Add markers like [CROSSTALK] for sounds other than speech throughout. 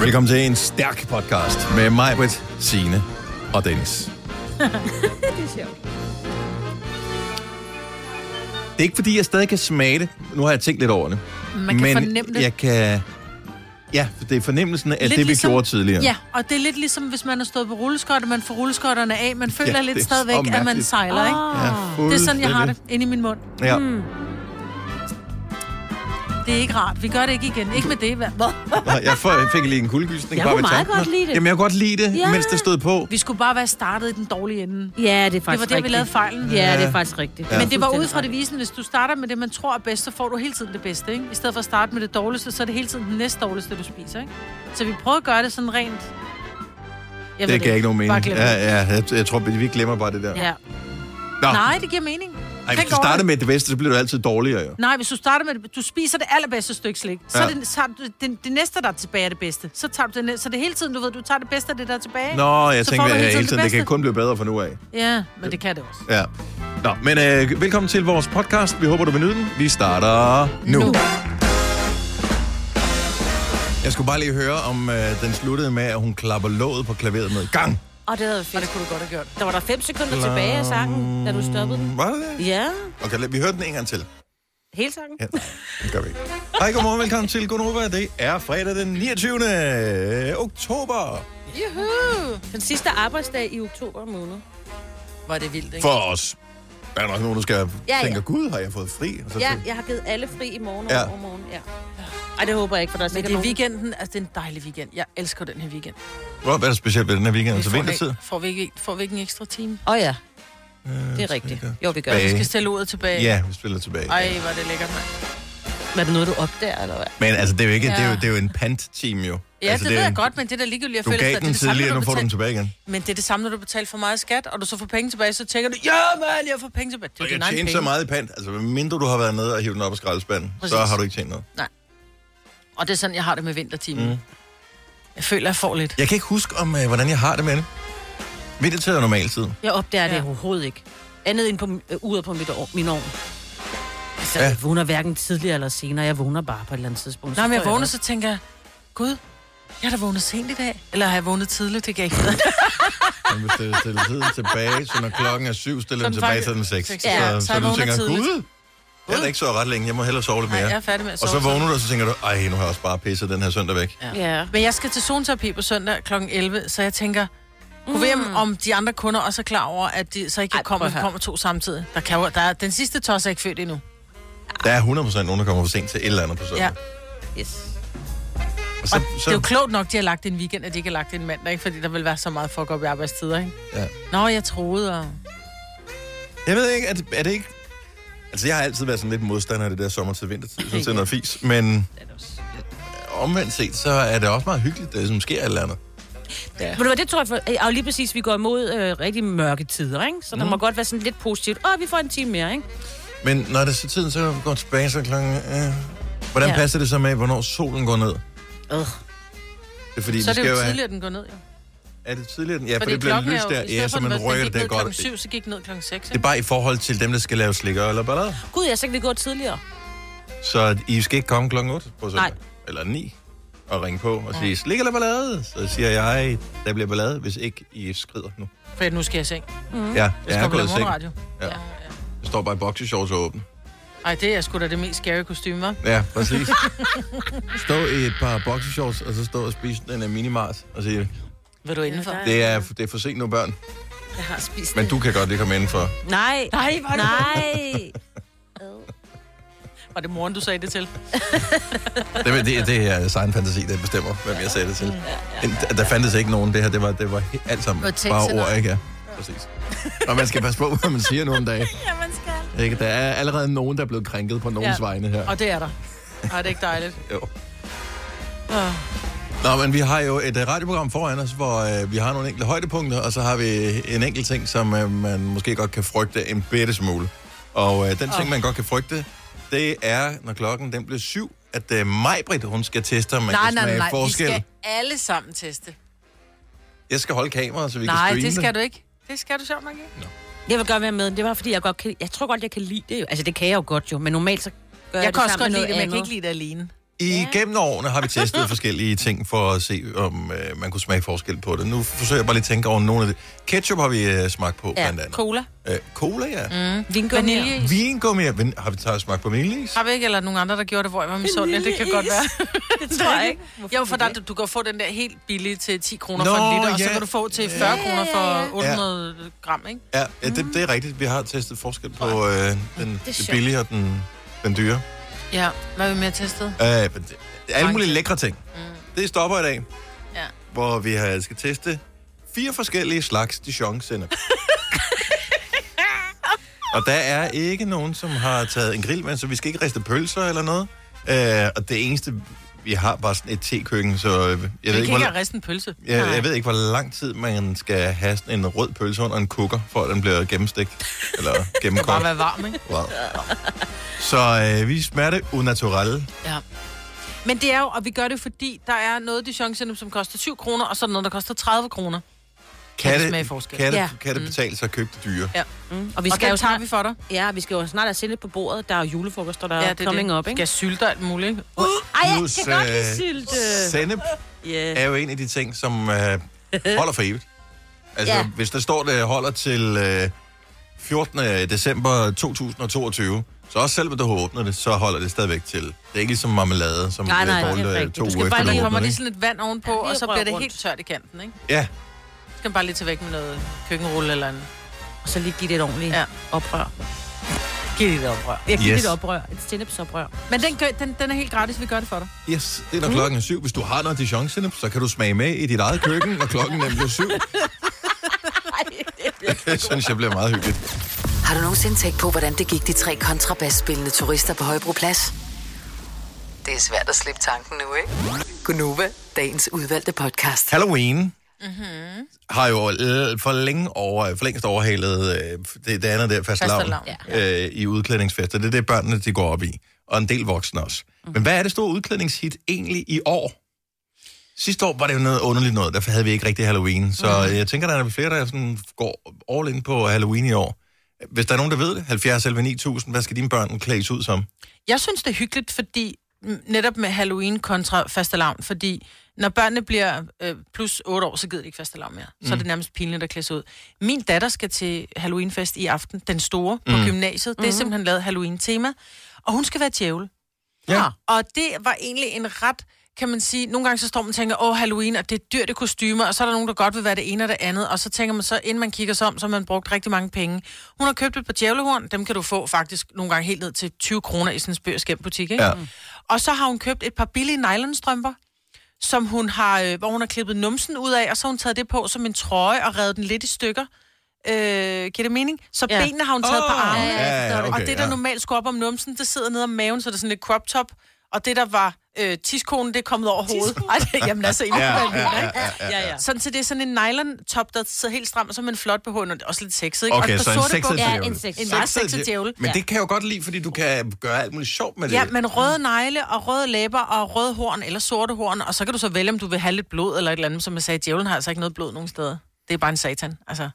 Velkommen til en stærk podcast med mig, Britt, Signe og Dennis. [LAUGHS] det er sjovt. Det er ikke, fordi jeg stadig kan smage det. Nu har jeg tænkt lidt over det. Man kan Men fornemme det. Jeg kan... Ja, for det er fornemmelsen af det, vi ligesom- gjorde tidligere. Ja, og det er lidt ligesom, hvis man har stået på rulleskøjt, og man får rulleskotterne af. Man føler Ja, ja, det lidt er så stadigvæk, at man mærkeligt. Ah. sejler, ikke? Ja, Det er sådan, jeg har det fuldstændig. inde i min mund. Ja. Mm. Det er ikke rart. Vi gør det ikke igen. Ikke med det. Hvad? Nå, Jeg får- jeg fik lige en kuldegysning. Jeg bare kunne ved meget tanken. godt lide det. Jamen, jeg kunne godt lide det, ja. Ja. mens det stod på. Vi skulle bare være startet i den dårlige ende. Ja, det er Det var faktisk der, vi rigtigt. lavede fejlen. Ja, det er faktisk rigtigt. Men det var ud fra det visende, hvis du starter med det, man tror er bedst, så får du hele tiden det bedste, ikke? I stedet for at starte med det dårligste, så er det hele tiden det næst dårligste, du spiser, ikke? Så vi prøver at gøre det sådan rent... Jeg ved det gav ikke nogen Bare mening. glem Ja, det. ja, jeg, jeg tror, vi glemmer bare det der. ja. Nå, Nej, det giver mening. Ej, hvis Tænk du over starter det. med det bedste, så bliver du altid dårligere, jo. Nej, hvis du starter med det, du spiser det allerbedste stykke slik, så, Ja. ja. det, så er det, det, det, næste, der er tilbage, er det bedste. Så tager du det, næ- så det er hele tiden, du ved, du tager det bedste af det, der er tilbage. Nå, jeg så tænker, får du at hele tiden, det kan bedste. kun blive bedre fra nu af. Ja, men det kan det også. Ja. Nå, men øh, velkommen til vores podcast. Vi håber, du vil nyde den. Vi starter nu. nu. Jeg skulle bare lige høre, om øh, den sluttede med, at hun klapper låget på klaveret med gang. Og det havde fedt. Og det kunne du godt have gjort. Der var der fem sekunder tilbage af sangen, da du stoppede den. Var det det? Ja, Okay, lad, vi hører den en gang til. hele sangen. Ja, det gør vi ikke. Hej, godmorgen, velkommen til Gunova. Det er fredag den 29. oktober Juhu! Den sidste arbejdsdag i oktober måned. Var det vildt, ikke? for os. Der er nok nogen, der skal ja, Ja, tænke, ja. gud, har jeg fået fri? Og så Ja, tænker, jeg har givet alle fri i morgen og Ja. Altså, ja. overmorgen. Ja. Ej, det håber jeg ikke, for der er Men sikkert det er nogen. weekenden, altså det er en dejlig weekend. Jeg elsker den her weekend. Hvad er der specielt ved den her weekend? Altså får, vintertid? ikke- får, vi ikke, får vi ikke en ekstra time? Åh oh, ja, det er rigtigt. Jo, vi gør Bag. det. Vi skal stille ordet tilbage. Ja, Altså, vi spiller tilbage. Ej, hvor er det lækkert, mand. Var det noget, du opdager, eller hvad? Men altså, det er jo, ikke, det er jo, Ja. det er jo en pant-team, jo. Ja, altså, altså, det, ved er jeg en- godt, men det der ligegyldigt, jeg Du føler, gav at den det samme, tidligere, når nu får du den betaler- tilbage igen. Men det er det samme, når du betaler for meget skat, og du så får penge tilbage, så tænker du, ja, mand, jeg får penge tilbage. Det er Og jo jeg din egen tjener penge. så meget i pant. Altså, mindre du har været nede og hivet den op af skraldespanden, så Præcis. har du ikke tjent noget. Og det er sådan, jeg har det med vintertimen. Mm. Jeg føler, jeg får lidt. Jeg kan ikke huske, om, øh, hvordan jeg har det med det. Vintertid er normaltid. Jeg opdager ja. Ja. det overhovedet ikke. Andet end på, øh, uret på mit år, min ovn. Altså, Ja. ja. jeg vågner hverken tidligere eller senere. Jeg vågner bare på et eller andet tidspunkt. Nej, men jeg står vågner, op. så tænker jeg, Gud, jeg har da vågnet sent i dag. Eller har jeg vågnet tidligt? Det kan jeg ikke vide. Men hvis det stiller tiden tilbage, så når klokken er syv, stiller [LAUGHS] den Sådan tilbage, så er faktisk- den seks. seks. så, Ja, så, så så jeg du vågner tænker, tidligt. gud, jeg har da ikke sovet ret længe, jeg må hellere sove lidt Nej, jeg mere. er færdig med at Og sove. så vågner du, og så tænker du, ej, nu har jeg også bare pisset den her søndag væk. Ja. Men jeg skal til zoneterapi på søndag kl. 11, så jeg tænker, kunne mm. om, om de andre kunder også er klar over, at de så ikke Ej, Ej, kommer, prøv at høre. kommer to samtidig. Der kan jo, der er, den sidste tos er ikke født endnu. Der er 100% nogen, der kommer for sent til et eller andet på søndag. Ja. Yes. Og Og så, det så, er jo klogt nok, de har lagt en weekend, at de ikke har lagt en mandag, ikke? fordi der vil være så meget fuck op i arbejdstider. Ikke? ja. Nå, jeg troede, og... Jeg ved ikke, er det, er det ikke... Altså, jeg har altid været sådan lidt modstander af det der sommertid-vintertid, sådan set noget fis, men omvendt set, så er det også meget hyggeligt, det som sker et eller andet. Ved du hvad, det tror jeg, for, øh, og lige præcis, vi går imod øh, rigtig mørke tider, ikke? Så der må godt være sådan lidt positivt. Åh, vi får en time mere, ikke? Men når det er så tiden, så går tilbage, så klokken... Øh, hvordan ja. Ja. passer det så med, hvornår solen går ned? Øh. Det er fordi, så vi er skal det jo jo have- tidligere, den går ned. Jo. Er det tidligere? den- Ja, for Fordi det bliver klokken er lyst jo- der. i stedet Ja, for, så at man den var- rører den det gik der ned godt. Klokken syv, så gik den ned klokken seks. Det er bare i forhold til dem, der skal lave slikker eller ballade. Gud, jeg så kan vi gå tidligere. Så I skal ikke komme klokken 8 på søndag. Nej. Eller 9 og ringe på og sige, slik eller ballade? Så siger jeg, der bliver ballade, hvis ikke I skrider nu. For nu skal jeg i seng. Mm. Ja, Jeg jeg er skal på gået i seng. morgenradio. Ja. Ja. Jeg står bare i boxershorts og åben. Ej, det er sgu da det mest scary kostume, hva'? Ja, præcis. [LAUGHS] stå i et par boxershorts, og så stå og spise den af minimars, og sige, [LAUGHS] Vil du indenfor? Ja, det er, det er for sent nu, børn. Jeg har spist Men du kan godt lige komme indenfor. Nej. Nej, var det- Nej. Øh. Var det moren, du sagde det til? Det, det, det er egen fantasi, der bestemmer, hvem jeg sagde det til. Der fandtes ikke nogen. Det her, det var, det var he- alt sammen Var tænkt bare til ord, noget. ikke? Ja, præcis. Og man skal passe på, hvad man siger nu om dagen. [LAUGHS] Ja, man skal. Ikke? Der er allerede nogen, der er blevet krænket på nogens ja. Ja. vegne her. Og det er der. Ej, det er ikke dejligt. Jo. Åh. Nå, men vi har jo et øh, radioprogram foran os, hvor øh, vi har nogle enkelte højdepunkter, og så har vi en enkelt ting, som øh, man måske godt kan frygte en bitte smule. Og øh, den ting, man godt kan frygte, det er, når klokken den bliver syv, at øh, Majbrit, hun skal teste, om man Nej, kan nej, nej, smage nej. Vi forskel. skal alle sammen teste. Jeg skal holde kameraet, så vi Nej, kan streame det skal du ikke. Det skal du sjovt nok ikke. Jeg vil godt være med, men det var fordi, jeg godt kan... Jeg tror godt, jeg kan lide det. jo. Altså, det kan jeg jo godt jo, men normalt så gør jeg, Jeg det kan også godt sammen med lide det, men noget jeg kan andet. ikke lide det alene. I gennem årene har vi testet forskellige ting for at se, om øh, man kunne smage forskel på det. Nu forsøger jeg bare lige at tænke over nogle af det. Ketchup har vi øh, smagt på, blandt andet. cola. Øh, cola, ja. Mm. Vingummi. Vanilje. Vingummi, ja. Vin- har vi taget smagt på vaniljeis? Har vi ikke, eller nogen andre, der gjorde det, hvor jeg var med sundt? Det kan Vaniljeis. [LAUGHS] godt være. Det tror jeg ikke. Jo, for der, du kan få den der helt billige til 10 kroner for Nå, en liter, og så ja. kan du få til 40 kroner for 800 gram, ikke? Ja, ja det, det er rigtigt. Vi har testet forskel på øh, den, det sjovt. billige og den, den dyre. Ja, hvad er vi mere testet? Øh, men det- alle mulige lækre ting. Mm. Det stopper i dag, Ja. hvor vi har- skal teste fire forskellige slags dijon [LAUGHS] sennep. Og der er ikke nogen, som har taget en grill med, så vi skal ikke riste pølser eller noget. Øh, og det eneste, vi har bare sådan et tekøkken, så øh, jeg ved, Vi ikke, kan ikke hvor, have resten pølse. jeg, jeg ved ikke, hvor lang tid man skal have sådan en rød pølse under en kukker, for at den bliver gennemstegt [LAUGHS] eller Bare gennemkogt. være varm, ikke? Wow. Så øh, vi smager det unaturelle. Ja. Men det er jo, og vi gør det fordi, der er noget Dijon som koster 7 kroner, og så er der noget, der koster 30 kroner. Kan det smage forskel? Mm. Kan det, Ja. kan det betale sig at købe det dyre? Ja. Og vi Og skal, den jo tager snart, vi for dig. ja, vi skal jo snart have sille på bordet. Der er jo julefrokost, og der ja, er coming up, ikke? Skal sylte og alt muligt, ikke? Uh, ej, jeg Plus, kan godt lide øh, sylte. Sennep Yeah. er jo en af de ting, som øh, holder for evigt. Altså, Ja. ja. hvis der står, det holder til øh, 14. december 2022, så også selv, når du åbner det, så holder det stadigvæk til. Det er ikke ligesom marmelade, som Nej, øh, nej, det er dårligt, øh, rigtigt. to Du skal uger Bare efter lige du kommer åbner lige det. sådan lidt vand ovenpå, Ja, lige og så bliver rør det rundt. helt tørt i kanten, ikke? ikke? Ja, Så skal man bare lige tage væk med noget køkkenrulle eller en... Og så lige give det et ordentligt Ja. ja. oprør. Giv det et oprør. Jeg giver Yes. yes. et oprør. Et sennepsoprør. Men den, gør, den, den er helt gratis, vi gør det for dig. yes, det er Mm. når klokken er syv. Hvis du har noget dijon så kan du smage med i dit eget køkken, når klokken nemlig er [LAUGHS] syv. Det synes jeg bliver meget hyggeligt. Har du nogensinde tænkt på, hvordan det gik de tre kontrabasspillende turister på Højbroplads? Det er svært at slippe tanken nu, ikke? Gunova, dagens udvalgte podcast. Halloween mm-hmm. har jo l- for, længe over, for længst overhalet øh, det, det andet der, fastelavn, Fastelavn, øh, i udklædningsfester. Det er det, børnene de går op i, og en del voksne også. Mm. Men hvad er det store udklædningshit egentlig i år? Sidste år var det jo noget underligt noget, derfor havde vi ikke rigtig Halloween. Så mm. jeg tænker, der er flere, der sådan går all in på Halloween i år. Hvis der er nogen, der ved det, 70 11 9000, hvad skal dine børn klædes ud som? Jeg synes, det er hyggeligt, fordi mm, netop med Halloween kontra fastelavn, fordi når børnene bliver øh, plus 8 år, så gider de ikke fastelavn mere. Så er det nærmest pinligt at klæde sig ud. Min datter skal til Halloweenfest i aften, den store, på mm. gymnasiet. Det er simpelthen lavet Halloween-tema. Og hun skal være djævel. Ja. Og det var egentlig en ret, kan man sige, nogle gange så står man og tænker, åh, Halloween, og det er dyrt det kostymer, og så er der nogen, der godt vil være det ene og det andet, og så tænker man så, inden man kigger sig om, så har man brugt rigtig mange penge. Hun har købt et par djævlehorn, dem kan du få faktisk nogle gange helt ned til 20 kroner i sådan en spøg butik, ikke? Ja. Og så har hun købt et par billige nylonstrømper, som hun har, øh, hvor hun har klippet numsen ud af, og så har hun taget det på som en trøje og revet den lidt i stykker. Øh, giver det mening? Så Ja. ja. benene har hun taget oh, på Åh, armene. ja, ja, ja, og okay, det, der ja. normalt skulle op om numsen, det sidder nede om maven, så det er sådan lidt crop top. Og det, der var øh, tiskonen, det er kommet over hovedet. Ej, det, jamen altså, I ja, ja, ja, ja, Ja, ja. Sådan, så det er sådan en nylon top, der sidder helt stram, og så med en flot behånd, og det er også lidt sexet, ikke? og Okay, et par så en sorte sexet bukser. Ja, djævel. en sexet- en meget sexet djævel. Men Ja. det kan jeg jo godt lide, fordi du kan gøre alt muligt sjovt med det. Ja, men røde negle og røde læber og røde horn eller sorte horn, og så kan du så vælge, om du vil have lidt blod eller et eller andet. Som jeg sagde, djævlen har altså ikke noget blod nogen steder. Det er bare en satan, altså.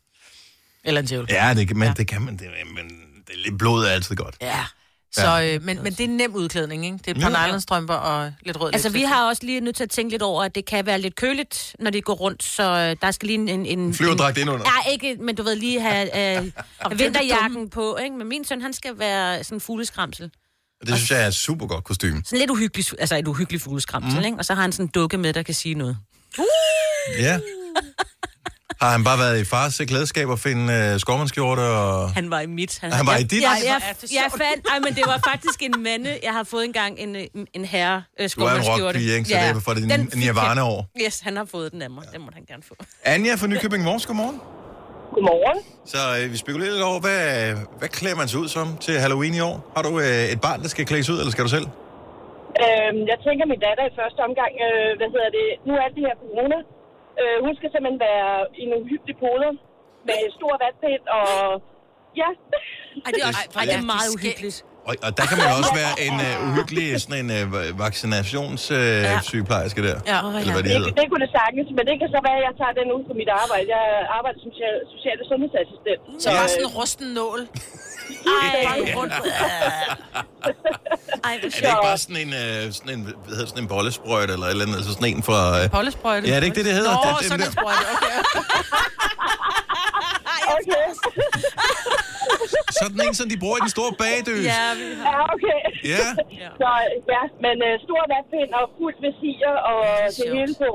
Eller en djævel. Ja, det kan, men det kan man. Det, men det, lidt blod er altid godt. ja. Så, øh, men, men det er en nem udklædning, ikke? Det er et par Ja. nylonstrømper og lidt rød Altså, vi læbestift. har også lige nødt til at tænke lidt over, at det kan være lidt køligt, når de går rundt, så øh, der skal lige en... en, en Flyverdragt indenunder. Ja, ikke, men du ved lige have øh, vinterjakken på, ikke? Men min søn, han skal være sådan en fugleskramsel. Og det synes jeg er et super godt kostume. Sådan lidt uhyggelig, fu- altså et uhyggeligt fugleskramsel, mm. ikke? Og så har han sådan en dukke med, der kan sige noget. Uh! Ja. Har han bare været i fars klædeskab og finde øh, skovmandskjorte og... Han var i mit. Han, Han var i dit? Jeg, Ej, jeg, hvor er jeg, det jeg sjovt. fandt, ej, men det var faktisk en mande. Jeg har fået engang en, øh, en herre øh, Du er en skovmandskjorte. rockpige, ikke? Så det er for det Den fik nirvana-år. han. Yes, han har fået den af mig. Den må han gerne få. Anja fra Nykøbing Mors, godmorgen. Godmorgen. Så øh, vi spekulerer lidt over, hvad, hvad klæder man sig ud som til Halloween i år? Har du øh, et barn, der skal klædes ud, eller skal du selv? Øhm, jeg tænker, min datter i første omgang, øh, hvad hedder det, nu er det her corona. Øh, hun skal simpelthen være i nogle hyggelige poler med stor vatpind og... Ja. Ej, det er, også, ej, det er ja, det meget er skægt. uhyggeligt. Og, og der kan man også være en øh, uhyggelig sådan en øh, vaccinationssygeplejerske øh, sygeplejerske der. Ja, åh, ja. Eller hvad det Det, hedder. det kunne det sagtens, men det kan så være, at jeg tager den ud på mit arbejde. Jeg arbejder som social- social- og sundhedsassistent. [LAUGHS] Så bare sådan en rusten nål. Ej, rundt. Ej, Ej, hvor Er det sjovt. ikke bare sådan en, øh, sådan en, hvad hedder det, sådan en bollesprøjt eller et eller andet, altså sådan en fra... Øh... Pollesprøjte. Ja, er det ikke det, det hedder? Nå, Det- det- sådan en det- sprøjte, okay. [LAUGHS] Okay. Sådan en, som de bruger i den store bagdøs. Ja, vi har... Ja, okay. Ja. [LAUGHS] Så ja, men øh, stor vatpind og fuldt med sier og det sjovt. hele på.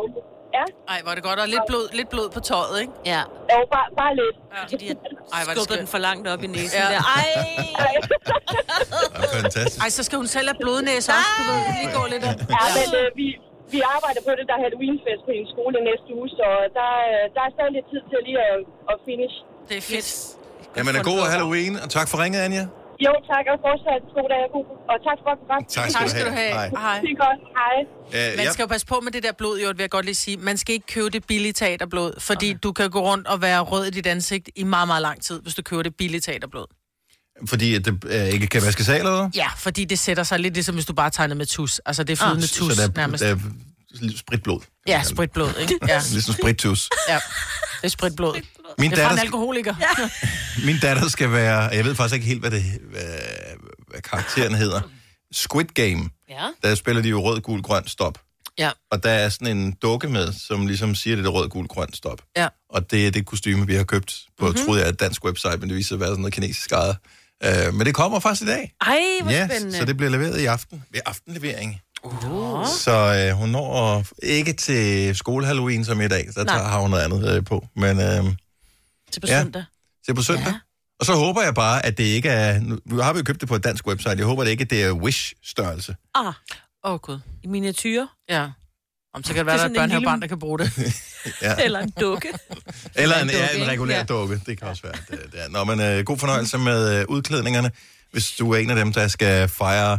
Ja, Ej, hvor er det godt. Og lidt blod, lidt blod på tøjet, ikke? Ja, jo, bare, bare lidt. fordi Ej, de hvor har er det skubbet den skønt. for langt op i næsen Ja. der. Ej! ja, fantastisk. Ej, så skal hun selv have blodnæse også, du ved. Lige gå lidt af. Ja, men øh, vi, vi arbejder på det, der er Halloweenfest på en skole næste uge, så der, øh, der er stadig lidt tid til lige at, at finish. Det er fedt. Jamen, er god Halloween, og tak for ringet, Anja. Jo, tak, og fortsat god dag, og god- og tak for godt. Tak Tak skal du have. Hej. Hej. Det er godt. Hej. Øh, Man ja, skal jo passe på med det der blod, jo, vil jeg godt lige sige. Man skal ikke købe det billige teaterblod, fordi du kan gå rundt og være rød i dit ansigt i meget, meget lang tid, hvis du køber det billige teaterblod. fordi at det øh, ikke kan vaske sig eller hvad? Ja, fordi det sætter sig lidt ligesom, hvis du bare tegner med tus. Altså, det er flydende ah, tus, så der, nærmest. der er lidt spritblod. kan man Ja, kalde det. spritblod, [LAUGHS] ikke? Ja, Ligesom sprittus. ja. Det er spritblod. Min Det er fra datter, en skal, alkoholiker. [LAUGHS] Ja. min datter skal være, jeg ved faktisk ikke helt, hvad, det, hvad, hvad karakteren hedder. Squid Game, Ja. der spiller de jo rød, gul, grøn, stop. ja. Og der er sådan en dukke med, som ligesom siger, det er rød, gul, grøn, stop. Ja. Og det er det kostyme, vi har købt på, Mhm. mm-hmm. troede jeg, et dansk website, men det viser sig at være sådan noget kinesisk eget. Uh, men det kommer faktisk i dag. Ej, hvor Ja, spændende. så det bliver leveret i aften. Ved aftenlevering. Uh. Så øh, hun når ikke til skole-Halloween som i dag. Så Nej. tager, har hun noget andet øh, på. Men øh, til på ja. søndag. det er på søndag. Ja. Ja. Og så håber jeg bare, at det ikke er... Nu nu har vi jo købt det på et dansk website. Jeg håber det ikke, at det er Wish-størrelse. Ah, Åh, oh, gud. i miniatyre. Ja. Om, så kan det være, at der Det er er sådan et en børnehavebarn, lille- der kan bruge [LAUGHS] det. [LAUGHS] Eller en dukke. Eller en, en dukke, ja, en ikke? regulær ja. Ja. dukke. Det kan også være. Det, det er. Nå, men øh, god fornøjelse med øh, udklædningerne, hvis du er en af dem, der skal fejre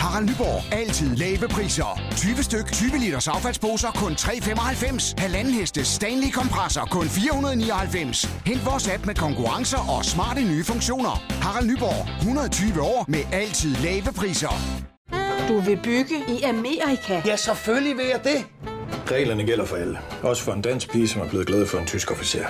Harald Nyborg. Altid lave priser. 20 styk, 20 liters affaldsposer kun 3,95. Halvanden heste Stanley kompresser kun 499. Hent vores app med konkurrencer og smarte nye funktioner. Harald Nyborg. 120 år med altid lave priser. Du vil bygge i Amerika? Ja, selvfølgelig vil jeg det. Reglerne gælder for alle. Også for en dansk pige, som er blevet glad for en tysk officer.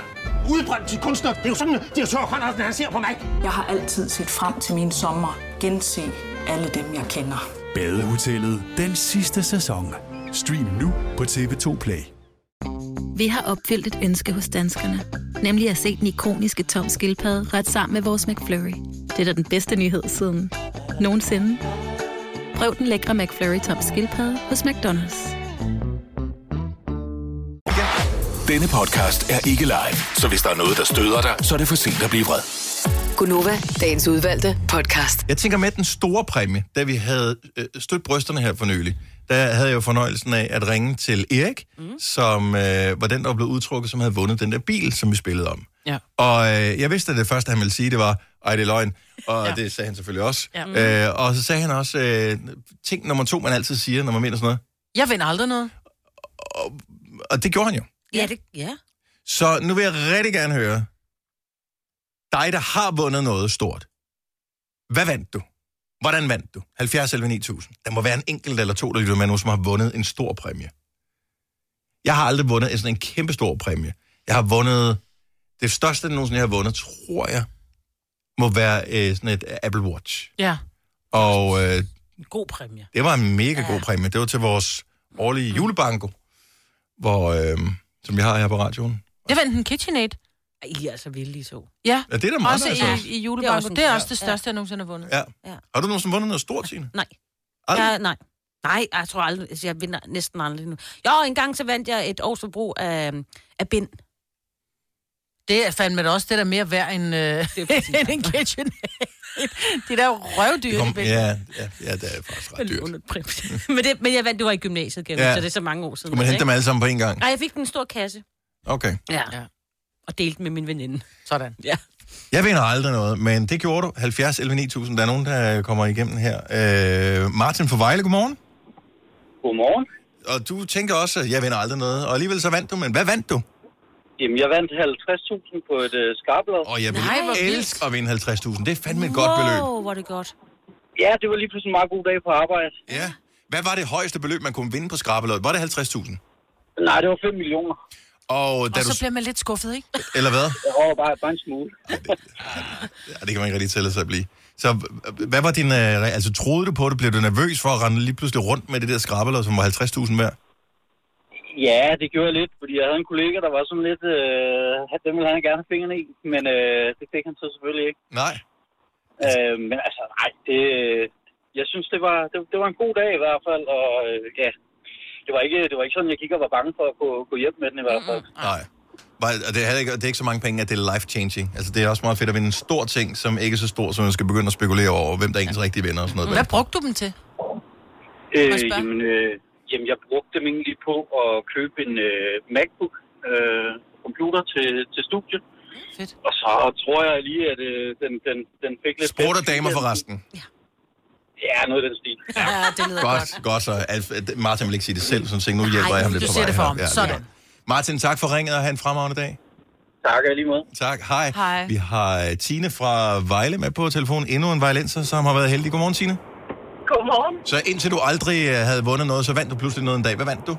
Udbrøndt til kunstner. Det er jo sådan, at de har tørt, han ser på mig. Jeg har altid set frem til min sommer, gense alle dem, jeg kender. Badehotellet den sidste sæson. Stream nu på TV2 Play. Vi har opfyldt et ønske hos danskerne. Nemlig at se den ikoniske tom skildpadde ret sammen med vores McFlurry. Det er da den bedste nyhed siden nogensinde. Prøv den lækre McFlurry tom skildpadde hos McDonald's. Denne podcast er ikke live, så hvis der er noget, der støder dig, så er det for sent at blive vred. Gunova, dagens udvalgte podcast. Jeg tænker med den store præmie, da vi havde øh, stødt brysterne her for nylig, der havde jeg jo fornøjelsen af at ringe til Erik, mm. som øh, var den, der var blevet udtrukket, som havde vundet den der bil, som vi spillede om. Ja. Og øh, jeg vidste, at det første, han ville sige, det var, ej, det er løgn. Og ja. det sagde han selvfølgelig også. Ja. Øh, og så sagde han også øh, ting nummer to, man altid siger, når man mener sådan noget. Jeg vinder aldrig noget. Og det gjorde han jo. Ja, det, ja. Så nu vil jeg rigtig gerne høre dig, der har vundet noget stort. Hvad vandt du? Hvordan vandt du? 70 eller 9000. Der må være en enkelt eller to, der lytter med nu, som har vundet en stor præmie. Jeg har aldrig vundet en sådan en kæmpe stor præmie. Jeg har vundet... Det største, jeg nogensinde har vundet, tror jeg, må være øh, sådan et Apple Watch. Ja. Og øh, En god præmie. det var en mega god præmie. Det var til vores årlige julebanko, hvor, øh, som vi har her på radioen. Jeg vandt en KitchenAid. Ej, I er altså vilde, I to. Ja. Ja, det er da meget Også nice også. i, i Det er julebanken. også en- Det er også det ja. største, jeg nogensinde har vundet. Ja. Ja. Har du nogensinde vundet noget stort, Signe? Nej. Aldrig? Ja, nej. Nej, jeg tror aldrig, altså, jeg vinder næsten aldrig nu. Jo, engang så vandt jeg et års forbrug af, af bind. Det er fandme da også det, der er mere værd end, øh, [LAUGHS] end en kitchen. de der røvdyr, Kom, de begge. ja, ja, ja, det er faktisk ret dyrt. Lånet præmie. [LAUGHS] men, det, men jeg vandt, det var i gymnasiet, kan jeg Ja. ja. så det er så mange år siden. Skulle man hente ikke? dem alle sammen på en gang? Nej, jeg fik den en stor kasse. Okay. Ja. Og delte den med min veninde. Sådan. Ja. Jeg vinder aldrig noget, men det gjorde du. 70 11 9000. Der er nogen, der kommer igennem her. Øh, Martin fra Vejle, godmorgen. Godmorgen. Og du tænker også, at jeg vinder aldrig noget. Og alligevel så vandt du, men hvad vandt du? Jamen, jeg vandt 50.000 på et øh, skarplod. Og jeg vil Nej, hvor vildt. elske at vinde 50.000. Det er fandme et godt beløb. Wow, hvor er det godt. Ja, det var lige pludselig en meget god dag på arbejde. Ja. Hvad var det højeste beløb, man kunne vinde på skrabelod? Var det 50.000? Nej, det var 5 millioner. Og, da Og du... så bliver man lidt skuffet, ikke? Eller hvad? Jeg var bare, bare en smule. Ja, det kan man ikke rigtig tælle sig at blive. Så h- hvad var din... øh, re- Altså, troede du på det? Blev du nervøs for at rende lige pludselig rundt med det der skrabelod, som var 50.000 værd? Ja, det gjorde jeg lidt, fordi jeg havde en kollega, der var sådan lidt... Øh, at dem ville han gerne have fingrene i, men øh, det fik han så selvfølgelig ikke. Nej. Øh, men altså, nej, det... Jeg synes, det var, det, det var en god dag i hvert fald, og øh, ja... Det var, ikke, det var ikke sådan, jeg gik og var bange for at gå, gå hjem med den i hvert fald. Nej. Var, og det er, heller ikke, og det er ikke så mange penge, at det er life-changing. Altså, det er også meget fedt at vinde en stor ting, som ikke er så stor, som man skal begynde at spekulere over, hvem der er ens rigtige venner og sådan noget. Mm. Hvad brugte du dem til? Øh, jeg spørge? jamen, øh, jamen, jeg brugte dem egentlig på at købe en øh, MacBook øh, computer til, til studiet. Fedt. Og så tror jeg lige, at øh, den, den, den fik lidt... Sport og damer for resten. Ja, noget af den stil. Ja, det lyder Godt, godt så. Alf, Martin vil ikke sige det selv, sådan set. Nu hjælper Nej, jeg ham du lidt på siger vej det for her. ham. Ja, det er Sådan. godt. Martin, tak for ringet og have en fremragende dag. Tak, lige måde. Tak, hej. Hej. Vi har øh, Tine fra Vejle med på telefonen. Endnu en vejlenser, som har været heldig. Godmorgen, Tine. Godmorgen. Så indtil du aldrig øh, havde vundet noget, så vandt du pludselig noget en dag. Hvad vandt du?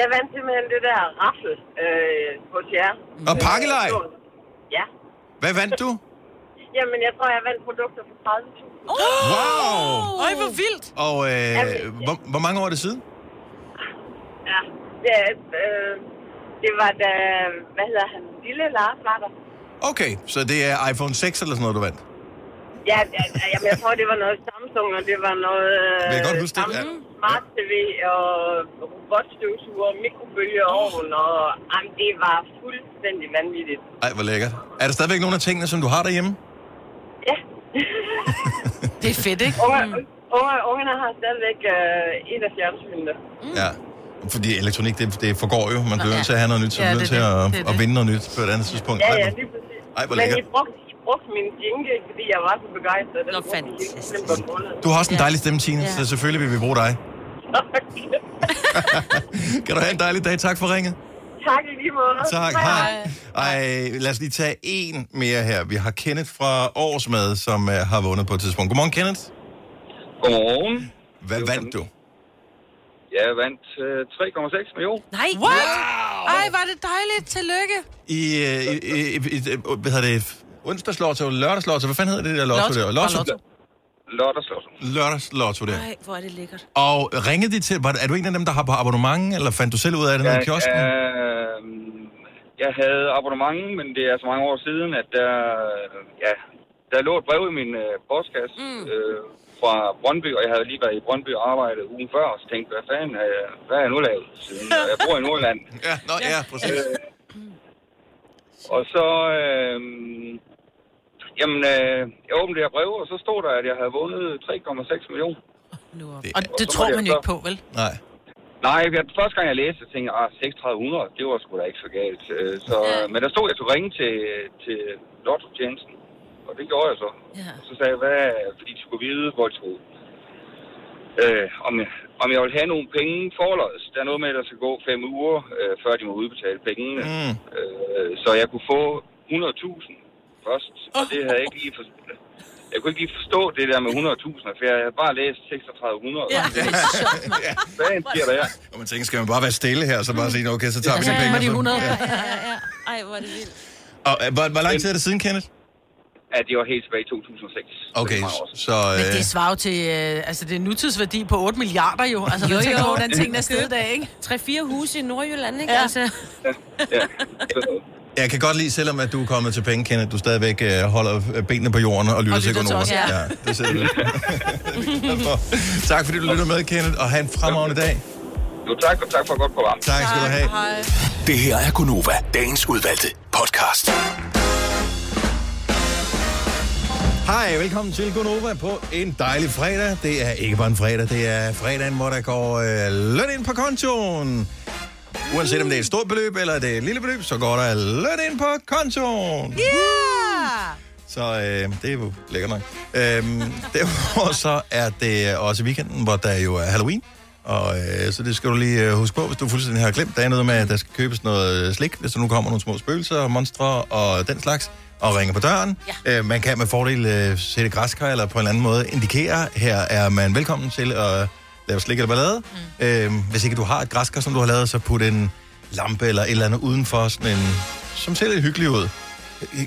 Jeg vandt simpelthen det der raffel øh, hos jer. Og pakkelej? Øh, Ja. Hvad vandt du? Jamen, jeg tror, jeg vandt produkter for 30.000. Wow! Øj, hvor vildt! Og Jamen, øh, hvor, hvor mange år er det siden? Ja, det, øh, det var da, hvad hedder han, Lille Lars var der. Okay, så det er iPhone 6 eller sådan noget, du vandt? Ja, ja, ja, jamen, jeg tror, det var noget Samsung, og det var noget Vil jeg øh, godt huske det? Samsung Smart TV og robotstøvsuger, mikrobølgeovn, og jamen, det var fuldstændig vanvittigt. Ej, hvor lækkert. Er der stadigvæk nogle af tingene, som du har derhjemme? Ja. det er fedt, ikke? Mm. Unger, unger, ungerne har stadigvæk øh, et af fjernsynene. Ja. Fordi elektronik, det, det forgår jo. Man bliver Mm. ja. nødt til at have noget nyt, så Ja, man bliver det nødt er til det. at, Det er at det. vinde noget nyt på et andet tidspunkt. Ja, Ej, ja, hvor- lige præcis. Ej, hvor Men lækkert. I brugte, I brugte min jingle, fordi jeg var så begejstret. Den brugte I hele tiden på måneden. Du har også en dejlig stemme, Tine, Ja. så selvfølgelig vil vi bruge [LAUGHS] dig. [LAUGHS] kan du have en dejlig dag. Tak for ringet. Tak i lige måde. Tak, hej. Ej, lad os lige tage en mere her. Vi har Kenneth fra Årsmad, som uh, har vundet på et tidspunkt. Godmorgen, Kenneth. Godmorgen. Hvad vandt du? Jeg vandt øh, 3,6 millioner. Nej. What? Ej, var det dejligt. Tillykke. I, øh, i, i, i, i hvad hedder det, onsdagslotto, lørdagslotto, hvad fanden hedder det der lotto Lotto. der? Bare lotto. Lørdagslotto. Lørdagslotto der. Nej, hvor er det [LAUGHS] lækkert. Og ringede de til, var, er du en af dem, der har på abonnement, eller fandt du selv ud af det nede i kiosken? øh, jeg havde abonnement, men det er så mange år siden, at der, øh, ja, der lå et brev i min øh, postkasse mm. øh, fra Brøndby, og jeg havde lige været i Brøndby og arbejdet ugen før, og så tænkte hvad fanden, har jeg, hvad har jeg nu lavet? Siden jeg bor i Nordjylland. ja, nå, ja, præcis. Øh, og så, øh, jamen, øh, jeg åbnede det her brev, og så stod der, at jeg havde vundet 3,6 millioner. Og det Og så tror var det man jo så- ikke på, vel? Nej. Nej, jeg, første gang jeg læste, så tænkte jeg, ah, 3600, det var sgu da ikke så galt. Øh, Så, men der stod, jeg skulle ringe til, til Lotto-tjenesten, og det gjorde jeg så. Ja. Og så sagde jeg, hvad, fordi de skulle vide, hvor de skulle. Øh, om, jeg, om jeg ville have nogle penge forlods. Der er noget med, at der skal gå fem uger, øh, før de må udbetale pengene. Mm. Øh, så jeg kunne få 100.000 først, og det havde jeg ikke lige forstået. Jeg kunne ikke lige forstå det der med 100.000, for jeg havde bare læst 3600. [LAUGHS] Ja, det er sjovt, Hvad sker der her? Og man tænker, skal man bare være stille her, så Mm. bare sige, okay, så tager vi de Ja, penge. var de 100. Ja. Ja, ja, ja. Ej, hvor er det vildt. Og øh, hvor, hvor lang tid er det siden, Kenneth? at det var helt tilbage i 2006. Okay, så... Men Øh, det svarer jo til, øh, altså det er nutidsværdi på 8 milliarder jo. Altså, Jo, jo, tænker, jo. jo. hvordan tingene er stedet i dag, ikke? 3-4 huse i Nordjylland, ikke? Ja. Altså, jeg kan godt lide, selvom at du er kommet til penge, Kenneth, du stadigvæk øh, holder øh, benene på jorden og lytter, Og til lytter til økonomer. os, ja. ja, det ser vi. tak fordi du lytter med, Kenneth, og have en fremragende dag. Jo, tak, og tak for et godt program. Tak skal du have. Det her er Gunova, dagens udvalgte podcast. Hej, velkommen til Gunova på en dejlig fredag. Det er ikke bare en fredag, det er fredagen, hvor der går øh, løn ind på kontoen. Uanset om det er et stort beløb eller det er et lille beløb, så går der løn ind på kontoen. Yeah! Så øh, det er jo lækkert nok. Øhm, derudover så er det også weekenden, hvor der jo er Halloween. Og øh, så det skal du lige øh, huske på, hvis du fuldstændig har glemt. Der er noget med, at der skal købes noget øh, slik, hvis der nu kommer nogle små spøgelser og monstre og den slags, og ringer på døren. Ja. Øh, man kan med fordel øh, sætte græskar eller på en anden måde indikere, her er man velkommen til at lave slik eller ballade. Mm. Øh, hvis ikke du har et græskar, som du har lavet, så put en lampe eller et eller andet udenfor, sådan en, som ser lidt hyggelig ud. Øh,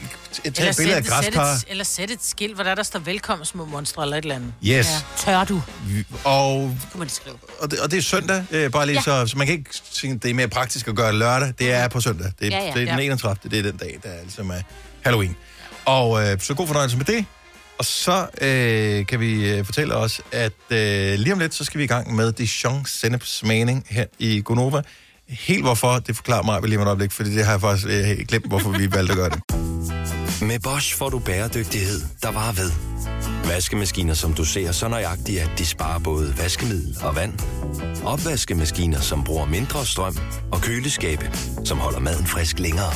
Tag et billede af sæt græskar. et, eller sæt et skilt, hvor der, der står velkommen små monstre eller et eller andet. Yes. Tør du? Vi- Og, Kunne man skrive. og, det, og det er søndag, øh, bare lige Ja. ja. så, så man kan ikke tænke, det er mere praktisk at gøre det lørdag. Det er på søndag. Det er, Ja, ja. det er den Ja. 31. Det er den dag, der er ligesom er Halloween. Og øh, så god fornøjelse med det. Og så øh, kan vi øh, fortælle os, at øh, lige om lidt, så skal vi i gang med Dijon Sennepsmagning her i Gonova. Helt hvorfor, det forklarer mig lige om et øjeblik, fordi det har jeg faktisk øh, helt glemt, hvorfor vi valgte at gøre det. Med Bosch får du bæredygtighed, der varer ved. Vaskemaskiner, som du ser så nøjagtigt, at de sparer både vaskemiddel og vand. Opvaskemaskiner, som bruger mindre strøm. Og køleskabe, som holder maden frisk længere.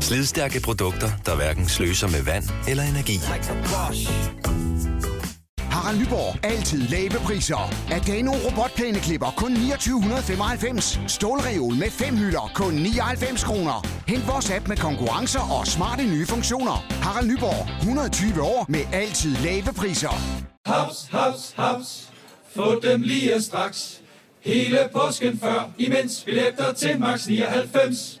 Slidstærke produkter, der hverken sløser med vand eller energi. Harald Nyborg. Altid lave priser. Adano robotplæneklipper kun 2995. Stålreol med fem hylder kun 99 kroner. Hent vores app med konkurrencer og smarte nye funktioner. Harald Nyborg. 120 år med altid lave priser. Haps, haps, haps. Få dem lige straks. Hele påsken før, imens billetter til max 99.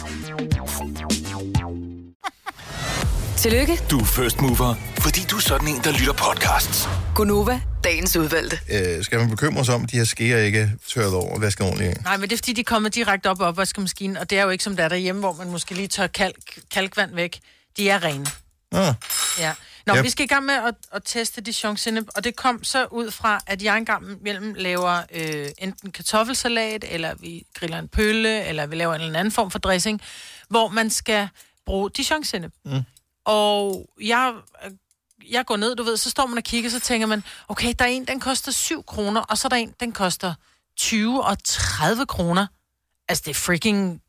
Tillykke, Du er first mover, fordi du er sådan en, der lytter podcasts. Gunova, dagens udvalgte. Øh, skal man bekymre sig om, at de her skeer ikke tørret over og vasket ordentligt af? Nej, men det er fordi, de kommer direkte op af opvaskemaskinen, og det er jo ikke som der er derhjemme, hvor man måske lige tør kalk, kalkvand væk. De er rene. Ah. Ja. Nå, Ja. yep. vi skal i gang med at, at teste Dijon Sinep, og det kom så ud fra, at jeg engang mellem laver øh, enten kartoffelsalat, eller vi griller en pølle, eller vi laver en eller anden form for dressing, hvor man skal bruge Dijon Sinep. Mm. Og jeg, øh, jeg går ned, du ved, så står man og kigger, så tænker man, okay, der er en, den koster 7 kroner, og så er der en, den koster 20 og 30 kroner. Altså, det er freaking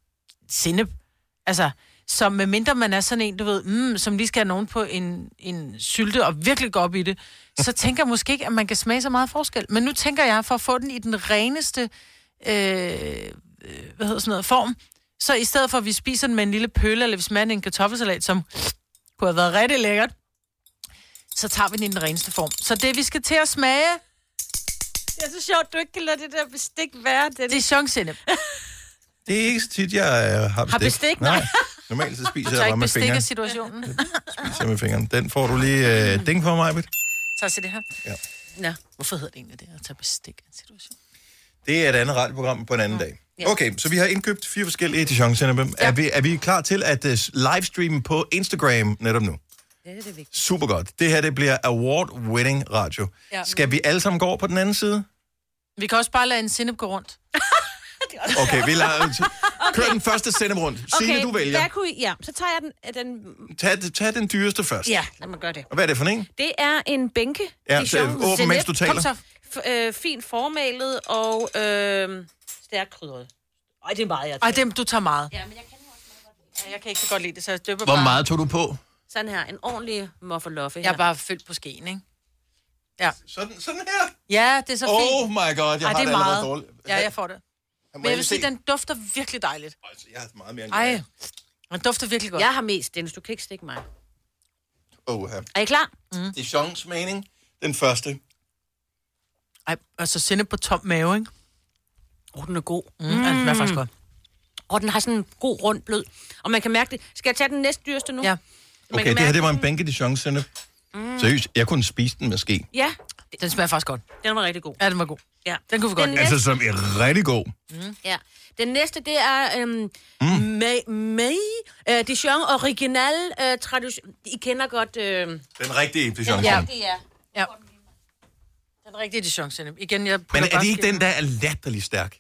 sinde. Altså, så medmindre man er sådan en, du ved, mm, som lige skal have nogen på en, en sylte og virkelig gå op i det, så tænker jeg måske ikke, at man kan smage så meget forskel. Men nu tænker jeg, for at få den i den reneste øh, øh, hvad hedder sådan noget, form, så i stedet for, at vi spiser den med en lille pølle, eller vi smager den i en kartoffelsalat, som kunne have været rigtig lækkert, så tager vi den i den reneste form. Så det, vi skal til at smage... Det er så sjovt, du ikke kan lade det der bestik være. Det, det er chancen. Det er ikke så tit, jeg øh, har bestik. Har bestik? Nej. [LAUGHS] Normalt så Du spiser tager jeg bare ikke med bestik fingrene. af situationen. Spiser med fingrene. Den får du lige øh, ding for mig, Britt. [LAUGHS] Så se det her. Ja. Nå, hvorfor hedder det egentlig det at tage bestik af en situation? Det er et andet radioprogram på en anden dag. Ja. Okay, så vi har indkøbt fire forskellige dijon ja. er, vi, er vi klar til at uh, livestreame på Instagram netop nu? Det er det vigtige. Super godt. Det her det bliver award-winning radio. Ja. Ja. Skal vi alle sammen gå over på den anden side? Vi kan også bare lade en sennep gå rundt. Okay, vi lader... Kør den første sende rundt. Signe, du vælger. Der kunne, I- ja, så tager jeg den... den Tag, tag den dyreste først. ja, lad mig gøre det. Og hvad er det for en? Det er en bænke. Ja, i så Jean åbn, mens du Genet. Kom taler. så. F- øh, fint formalet og øh, stærkt krydret. Ej, det er meget, jeg Ej, tager. dem du tager meget. Ja, men jeg kan også Jeg kan ikke så godt lide det, så jeg døber Hvor bare... meget tog du på? Sådan her, en ordentlig mufferloffe her. Jeg er bare fyldt på skeen, ikke? Ja. Sådan, sådan her? Ja, det er så Oh fint. my god, jeg har det allerede dårligt. Ja, jeg får det. Men jeg jeg vil lige sige, se? den dufter virkelig dejligt. Jeg har meget mere Ej, den dufter virkelig godt. Jeg har mest, Dennis. Du kan ikke stikke mig. Oh, her. Er I klar? Mm. Dijons mening. Den første. Ej, altså sinde på tom mave, ikke? Åh, oh, den er god. Mm, mm. Den er faktisk godt. Og den har sådan en god rund blød. Og man kan mærke det. Skal jeg tage den næste dyreste nu? Ja. Okay, det her det var en bænke Dijon sennep. Mm. Seriøst, jeg kunne spise den med ske. Ja. Den smager faktisk godt. Den var rigtig god. Ja, den var god. Ja. Den kunne vi godt Altså, som er rigtig god. Mm. Ja. Den næste, det er øhm, mm. May, May uh, Dijon Original uh, Tradition. I kender godt... Øh, Den rigtige Dijon ja, sennep. det er. Ja. Den Den rigtige Dijon sennep. Igen, jeg putter Men er bare det ikke skin- den, der er latterlig stærk?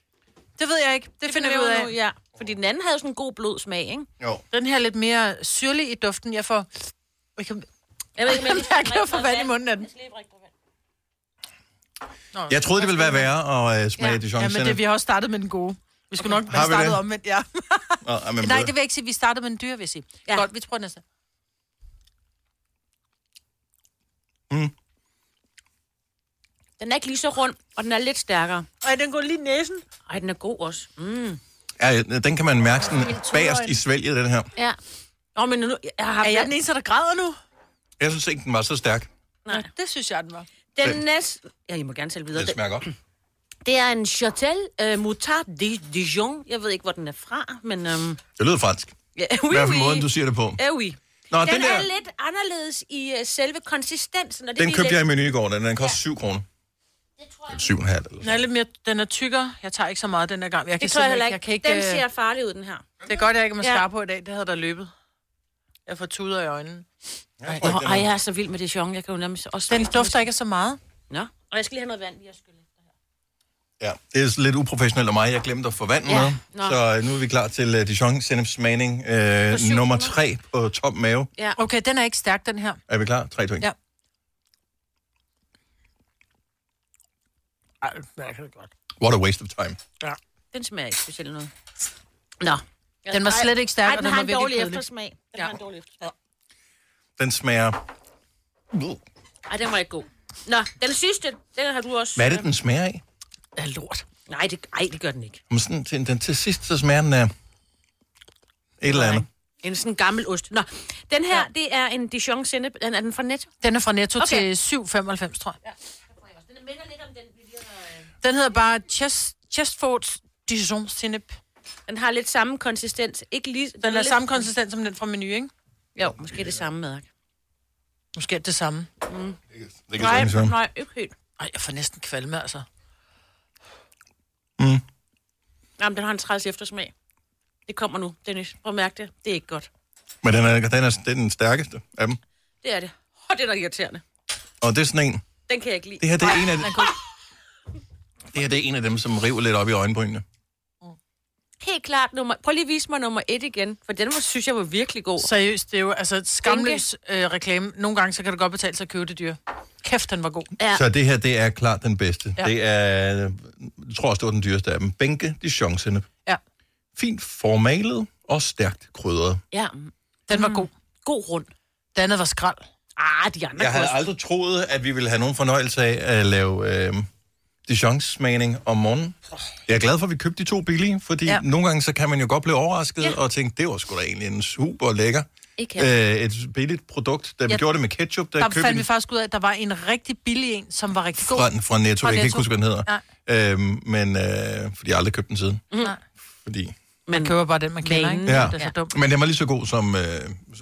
Det ved jeg ikke. Det, det finder vi ud af. ja. Fordi den anden havde sådan en god blød smag, ikke? Jo. Den her er lidt mere syrlig i duften. Jeg får... Jeg, kan... Jeg ved ikke, men jeg [LAUGHS] skal jeg kan drikke få noget vand i vand. munden af den. Nå, Jeg troede, det ville være værre at øh, smage ja. Dijon ja, men det, vi har også startet med den gode. Vi skulle nok Har have vi startet det? omvendt, ja. Nå, [LAUGHS] men, Nej, det vil jeg ikke sige. Vi startede med en dyr, vil jeg sige. Ja. Godt, vi prøver næste. Den er ikke lige så rund, og den er lidt stærkere. Ej, den går lige næsen. Ej, den er god også. Mm. Ja, den kan man mærke sådan Min toøjne. bagerst i svælget, den her. Ja. Nå, men nu... Jeg har Er jeg den eneste, der græder nu? Jeg synes ikke, den var så stærk. Nej. Det synes jeg, den var. Den Den- næste... Ja, I må gerne tale videre. Den smager godt. Det er en Chatel uh, Moutard de Dijon. Jeg ved ikke, hvor den er fra, men... Um, Det lyder fransk. ja, I hvert fald måden, du siger det på. Ja, oui. Nå, den, den er der- lidt anderledes i uh, selve konsistensen. Og det er Den lige købte jeg i lidt... menu i går, den, den koster 7 kroner. Syv og en halv. eller- Den er lidt mere... Den er tykkere. Jeg tager ikke så meget den her gang. Jeg kan Det tror jeg heller simpelthen Jeg ikke. kan ikke Den øh, ser farlig ud, den her. Det er godt, jeg ikke må Ja. ja. på i dag. Det havde der løbet. Jeg får tuder i øjnene. Ej, ej, jeg er så vild med Dijon. Jeg kan jo nærmest også... Den dufter ikke så meget. Nå, og jeg skal lige have noget vand. Jeg skal... Ja, det er sådan lidt uprofessionelt af mig. Jeg glemte at få vand med. Ja, nå. Så øh, nu er vi klar til uh, Dijon Sennepsmagning øh, nummer 3 på top mave. Ja. Okay, den er ikke stærk, den her. Er vi klar? 3, 2, 1. Ja. Ej, den smager godt. What a waste of time. Ja. Den smager ikke specielt noget. Nå. Den var slet ikke stærk, Ej, og den, den har var en virkelig dårlig kedelig. eftersmag. Den ja. har en dårlig eftersmag. Den smager... Ej, den var ikke god. Nå, den sidste, den har du også... Hvad er det, den smager af? Er lort. Nej, det, ej, det gør den ikke. Om Sådan, til, den, til sidst, så smager den af... Et eller andet. En sådan gammel ost. Nå, den her, ja. det er en Dijon sennep. Den- Er den fra Netto? Den er fra Netto Okay. okay. til 7,95, tror jeg. Ja. Den minder lidt om den, vi lige har... Den hedder bare Chest, Chestford Dijon Sinep. Den har lidt samme konsistens. Ikke lige... Den er lidt- samme konsistens som den fra menu, ikke? Jo, måske det samme mad. Måske er det det samme. Mm. Det kan Nej, sagtens være. nej, ikke helt. Ej, jeg får næsten kvalme, altså. Mm. Jamen, den har en træls eftersmag. Det kommer nu, Dennis. Prøv at mærke det. Det er ikke godt. Men den er, den, er, den er den stærkeste af dem. Det er det. Og det er da irriterende. Og det er sådan en... Den kan jeg ikke lide. Det her, det er Ej, en af den de- god. Det her det er en af dem, som river lidt op i øjenbrynene. Helt klart. Nummer... Prøv lige at vise mig nummer et igen, for den var, synes jeg var virkelig god. Seriøst, det er jo altså et skamløs øh, reklame. Nogle gange, så kan det godt betale sig at købe det dyr. Kæft, den var god. Ja. Så det her, det er klart den bedste. Ja. Ja. Det er, jeg tror også, det var den dyreste af dem. Bænke Dijon sennep. Ja. Fint formalet og stærkt krydret. Ja. Mm. Den var god. God rund. Det andet var skrald. Ah, de andre Jeg havde koster. aldrig troet, at vi ville have nogen fornøjelse af at lave øh, Dijon-smagning om morgenen. Jeg er glad for, at vi købte de to billige, fordi ja. Ja. nogle gange så kan man jo godt blive overrasket Ja. ja. og tænke, det var sgu da egentlig en super lækker. Ikke Øh, et billigt produkt. Da vi Ja. gjorde det med ketchup, der, Der købte fandt vi vi faktisk ud af, at der var en rigtig billig en, som var rigtig god. fra, fra Netto. Jeg kan Netto. ikke huske, hvad den hedder. Nej. Øhm, men, øh, fordi jeg aldrig købte den siden. Nej. Fordi... Man køber bare den, man kender, ikke? Ja. Det er så dumt. Men den var lige så god som, øh,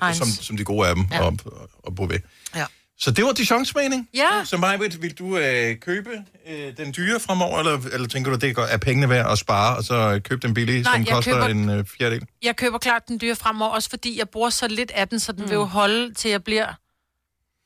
Heinz. som, som de gode af dem ja. Ja. og, og Beauvais. Ja. Så det var Dijon's mening. Ja. Så Majbrit, vil du øh, købe øh, den dyre fremover, eller, eller tænker du, det er godt- er pengene værd at spare, og så øh, købe den billige, Nej, som jeg koster køber- en øh, fjerdedel? Jeg køber klart den dyre fremover, også fordi jeg bruger så lidt af den, så den mm. vil jo holde, til jeg bliver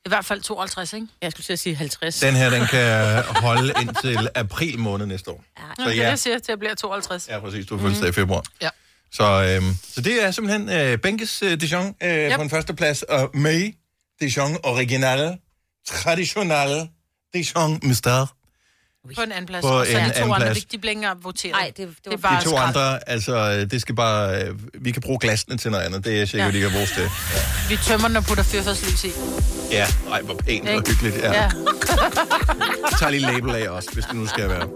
i hvert fald 52, ikke? Jeg skulle til at sige 50. Den her, [LAUGHS] den kan holde indtil april måned næste år. Ja. Så, ja. Det, jeg siger, til jeg bliver 52. Ja, præcis. Du har fødselsdag i februar. Ja. Så, øhm, så det er simpelthen øh, Benkes øh, Dijon øh, yep. på den første plads, og May Dijon Original Traditional Dijon Mister. På en anden plads. På Og så en de anden to andre, plads. de, de bliver ikke engang voteret. Nej, det, det, det er De bare to skrald. andre, altså, øh, det skal bare... Øh, vi kan bruge glasene til noget andet. Det er sikkert Ja. ja. ikke vores det. Vi tømmer den og putter fyrfærdslys i. Ja, ej, hvor pænt og Ikke? hyggeligt. Ja. Ja. ja. [LAUGHS] Jeg tager lige label af også, hvis det nu skal være.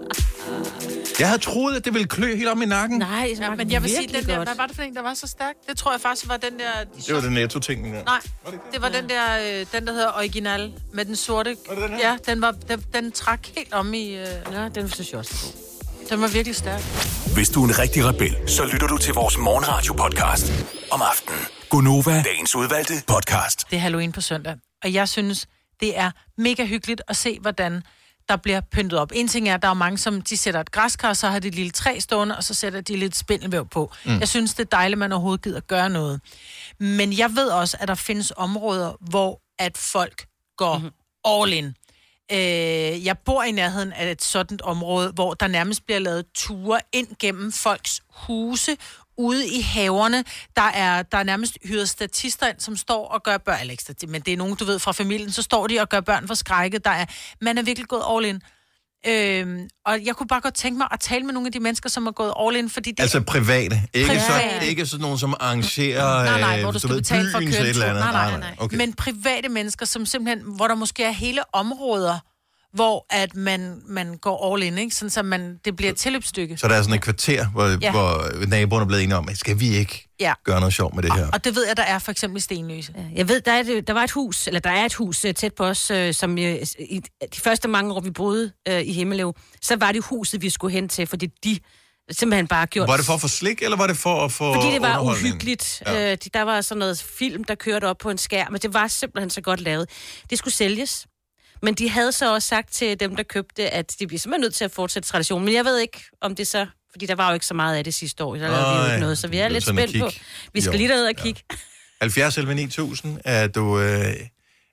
Jeg havde troet, at det ville klø helt om i nakken. Nej, ja, men jeg vil sige, virkelig den der, godt. hvad var det for en, der var så stærk? Det tror jeg faktisk var den der... Det var den netto-ting. Der. Nej, det var den der, øh, den der hedder Original, med den sorte. den ja, den, var, den, den trak helt om i... Øh... Ja, den synes jeg også er god. Den var virkelig stærk. Hvis du er en rigtig rebel, så lytter du til vores morgenradio-podcast om aftenen. Gunova, dagens udvalgte podcast. Det er Halloween på søndag. Og jeg synes, det er mega hyggeligt at se, hvordan der bliver pyntet op. En ting er, at der er mange, som de sætter et græskar, så har de et lille træ stående, og så sætter de lidt spindelvæv på. Mm. Mm. Jeg synes, det er dejligt, at man overhovedet gider gøre noget. Men jeg ved også, at der findes områder, hvor at folk går mm-hmm. all in. Øh, jeg bor i nærheden af et sådan område, hvor der nærmest bliver lavet ture ind gennem folks huse, ude i haverne. Der er, der er nærmest hyret statister ind, som står og gør børn, eller ikke statister, men det er nogen, du ved, fra familien, så står de og gør børn for skrækket. Der er, man er virkelig gået all in. Øhm, og jeg kunne bare godt tænke mig at tale med nogle af de mennesker, som er gået all in, fordi det Altså private. Ikke, Private. Så, ikke sådan nogen, som arrangerer Nej, nej, øh, hvor du skal ved, betale for at byens køre et en tur. eller Nej, nej, andet. nej. Okay. Men private mennesker, som simpelthen, hvor der måske er hele områder, hvor at man, man går all in, ikke? Sådan, så man, det bliver et tilløbsstykke. Så der er sådan et kvarter, hvor, Ja. ja. hvor naboerne er blevet enige om, at skal vi ikke Ja. gøre noget sjovt med det her? Og det ved jeg, der er for eksempel i Stenløse. Jeg ved, der, er et, der var et hus, eller der er et hus øh, tæt på os, øh, som øh, i de første mange år, vi boede øh, i Himmelev, så var det huset, vi skulle hen til, fordi de simpelthen bare gjort... Var det for at få slik, eller var det for at få Fordi det var underholdning? uhyggeligt. Ja. Ja. Øh, de- der var sådan noget film, der kørte op på en skærm, men det var simpelthen så godt lavet. Det skulle sælges. Men de havde så også sagt til dem, der købte, at de bliver simpelthen nødt til at fortsætte traditionen. Men jeg ved ikke, om det så... Fordi der var jo ikke så meget af det sidste år. Der lavede vi jo Nej, ikke noget, så vi det er er lidt sådan at spændt på. kigge. Vi skal Jo, lige derud og kigge. 70 11 9000, er du, øh,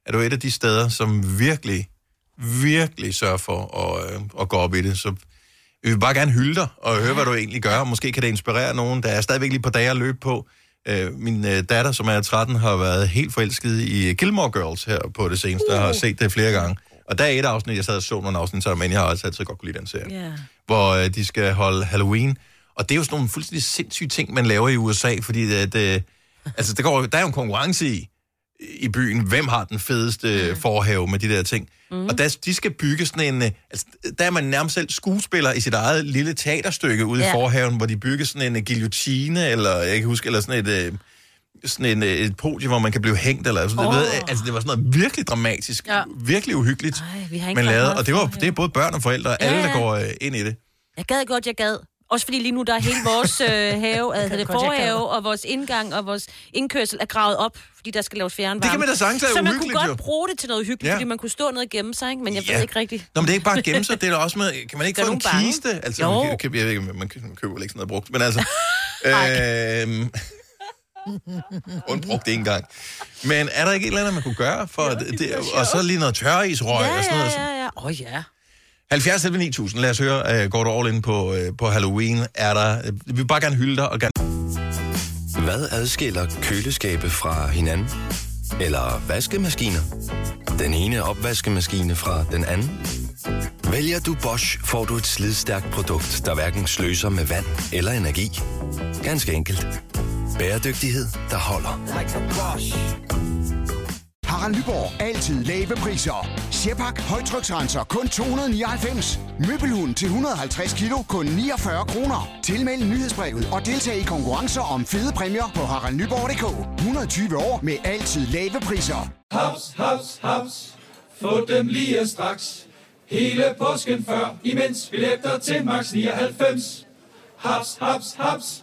er du et af de steder, som virkelig, virkelig sørger for at, øh, at gå op i det. Så vi vil bare gerne hylde dig og høre, hvad du egentlig gør. Måske kan det inspirere nogen. Der er stadigvæk lige et par dage at løbe på. Øh, min øh, datter, som er 13, har været helt forelsket i Gilmore Girls her på det seneste, og har set det flere gange. Og der er et afsnit, jeg sad og så nogle afsnit sammen, men jeg har også altid godt kunne lide den serie Ja. hvor øh, de skal holde Halloween. Og det er jo sådan nogle fuldstændig sindssyge ting, man laver i USA, fordi at, øh, altså, der, går, der er jo en konkurrence i, i byen, hvem har den fedeste mm. forhave med de der ting. Mm. Og der, de skal bygge sådan en... øh, Altså, der er man nærmest selv skuespiller i sit eget lille teaterstykke ude ja. Ja. i forhaven, hvor de bygger sådan en øh, guillotine, eller jeg kan huske, eller sådan et... Øh, sådan en, øh, et podie, hvor man kan blive hængt, eller sådan oh. ved, altså det var sådan noget virkelig dramatisk, Ja. ja. virkelig uhyggeligt, Ej, vi har ikke man ret lavede, meget og det, var, det er både børn og forældre, ja. alle, der Ja. går øh, ind i det. Jeg gad godt, jeg gad. Også fordi lige nu, der er hele [LAUGHS] vores øh, have, Jeg altså gad det godt, jeg gad. forhave, og vores indgang og vores indkørsel er gravet op, fordi der skal laves fjernvarme. Det kan man da sagtens er Så man kunne uhyggeligt, godt jo. bruge det til noget hyggeligt, ja. Ja. fordi man kunne stå ned og gemme sig, ikke? men jeg ja. ved Ja. ikke rigtigt. Nå, men det er ikke bare at gemme sig, det er da også med, kan man ikke Gør få en nogen bange. kiste? Altså, Jo. man, kan, jeg ved ikke, man, man køber vel ikke sådan noget brugt, men [LAUGHS] altså... øhm, [LAUGHS] Hun brugte det en gang. Men er der ikke et eller andet, man kunne gøre? For det, det, og så lige noget tørreisrøg ja, og sådan noget. Ja, ja, ja. Åh, oh, ja. 70 11, 9000, lad os høre, øh, går du all in på, øh, på Halloween? Er der, øh, vi vil bare gerne hylde dig og gerne... Hvad adskiller køleskabe fra hinanden? Eller vaskemaskiner? Den ene opvaskemaskine fra den anden? Vælger du Bosch, får du et slidstærkt produkt, der hverken sløser med vand eller energi. Ganske enkelt. Bæredygtighed, der holder. Harald Nyborg. Altid lave priser. Sjehpak. Højtryksrenser. Kun 299. Møbelhund til 150 kilo. Kun 49 kroner. Tilmeld nyhedsbrevet og deltag i konkurrencer om fede præmier på haraldnyborg.dk. 120 år med altid lave priser. Haps, haps, haps. Få dem lige straks. Hele påsken før, imens billetter til max 99. Haps, haps, haps.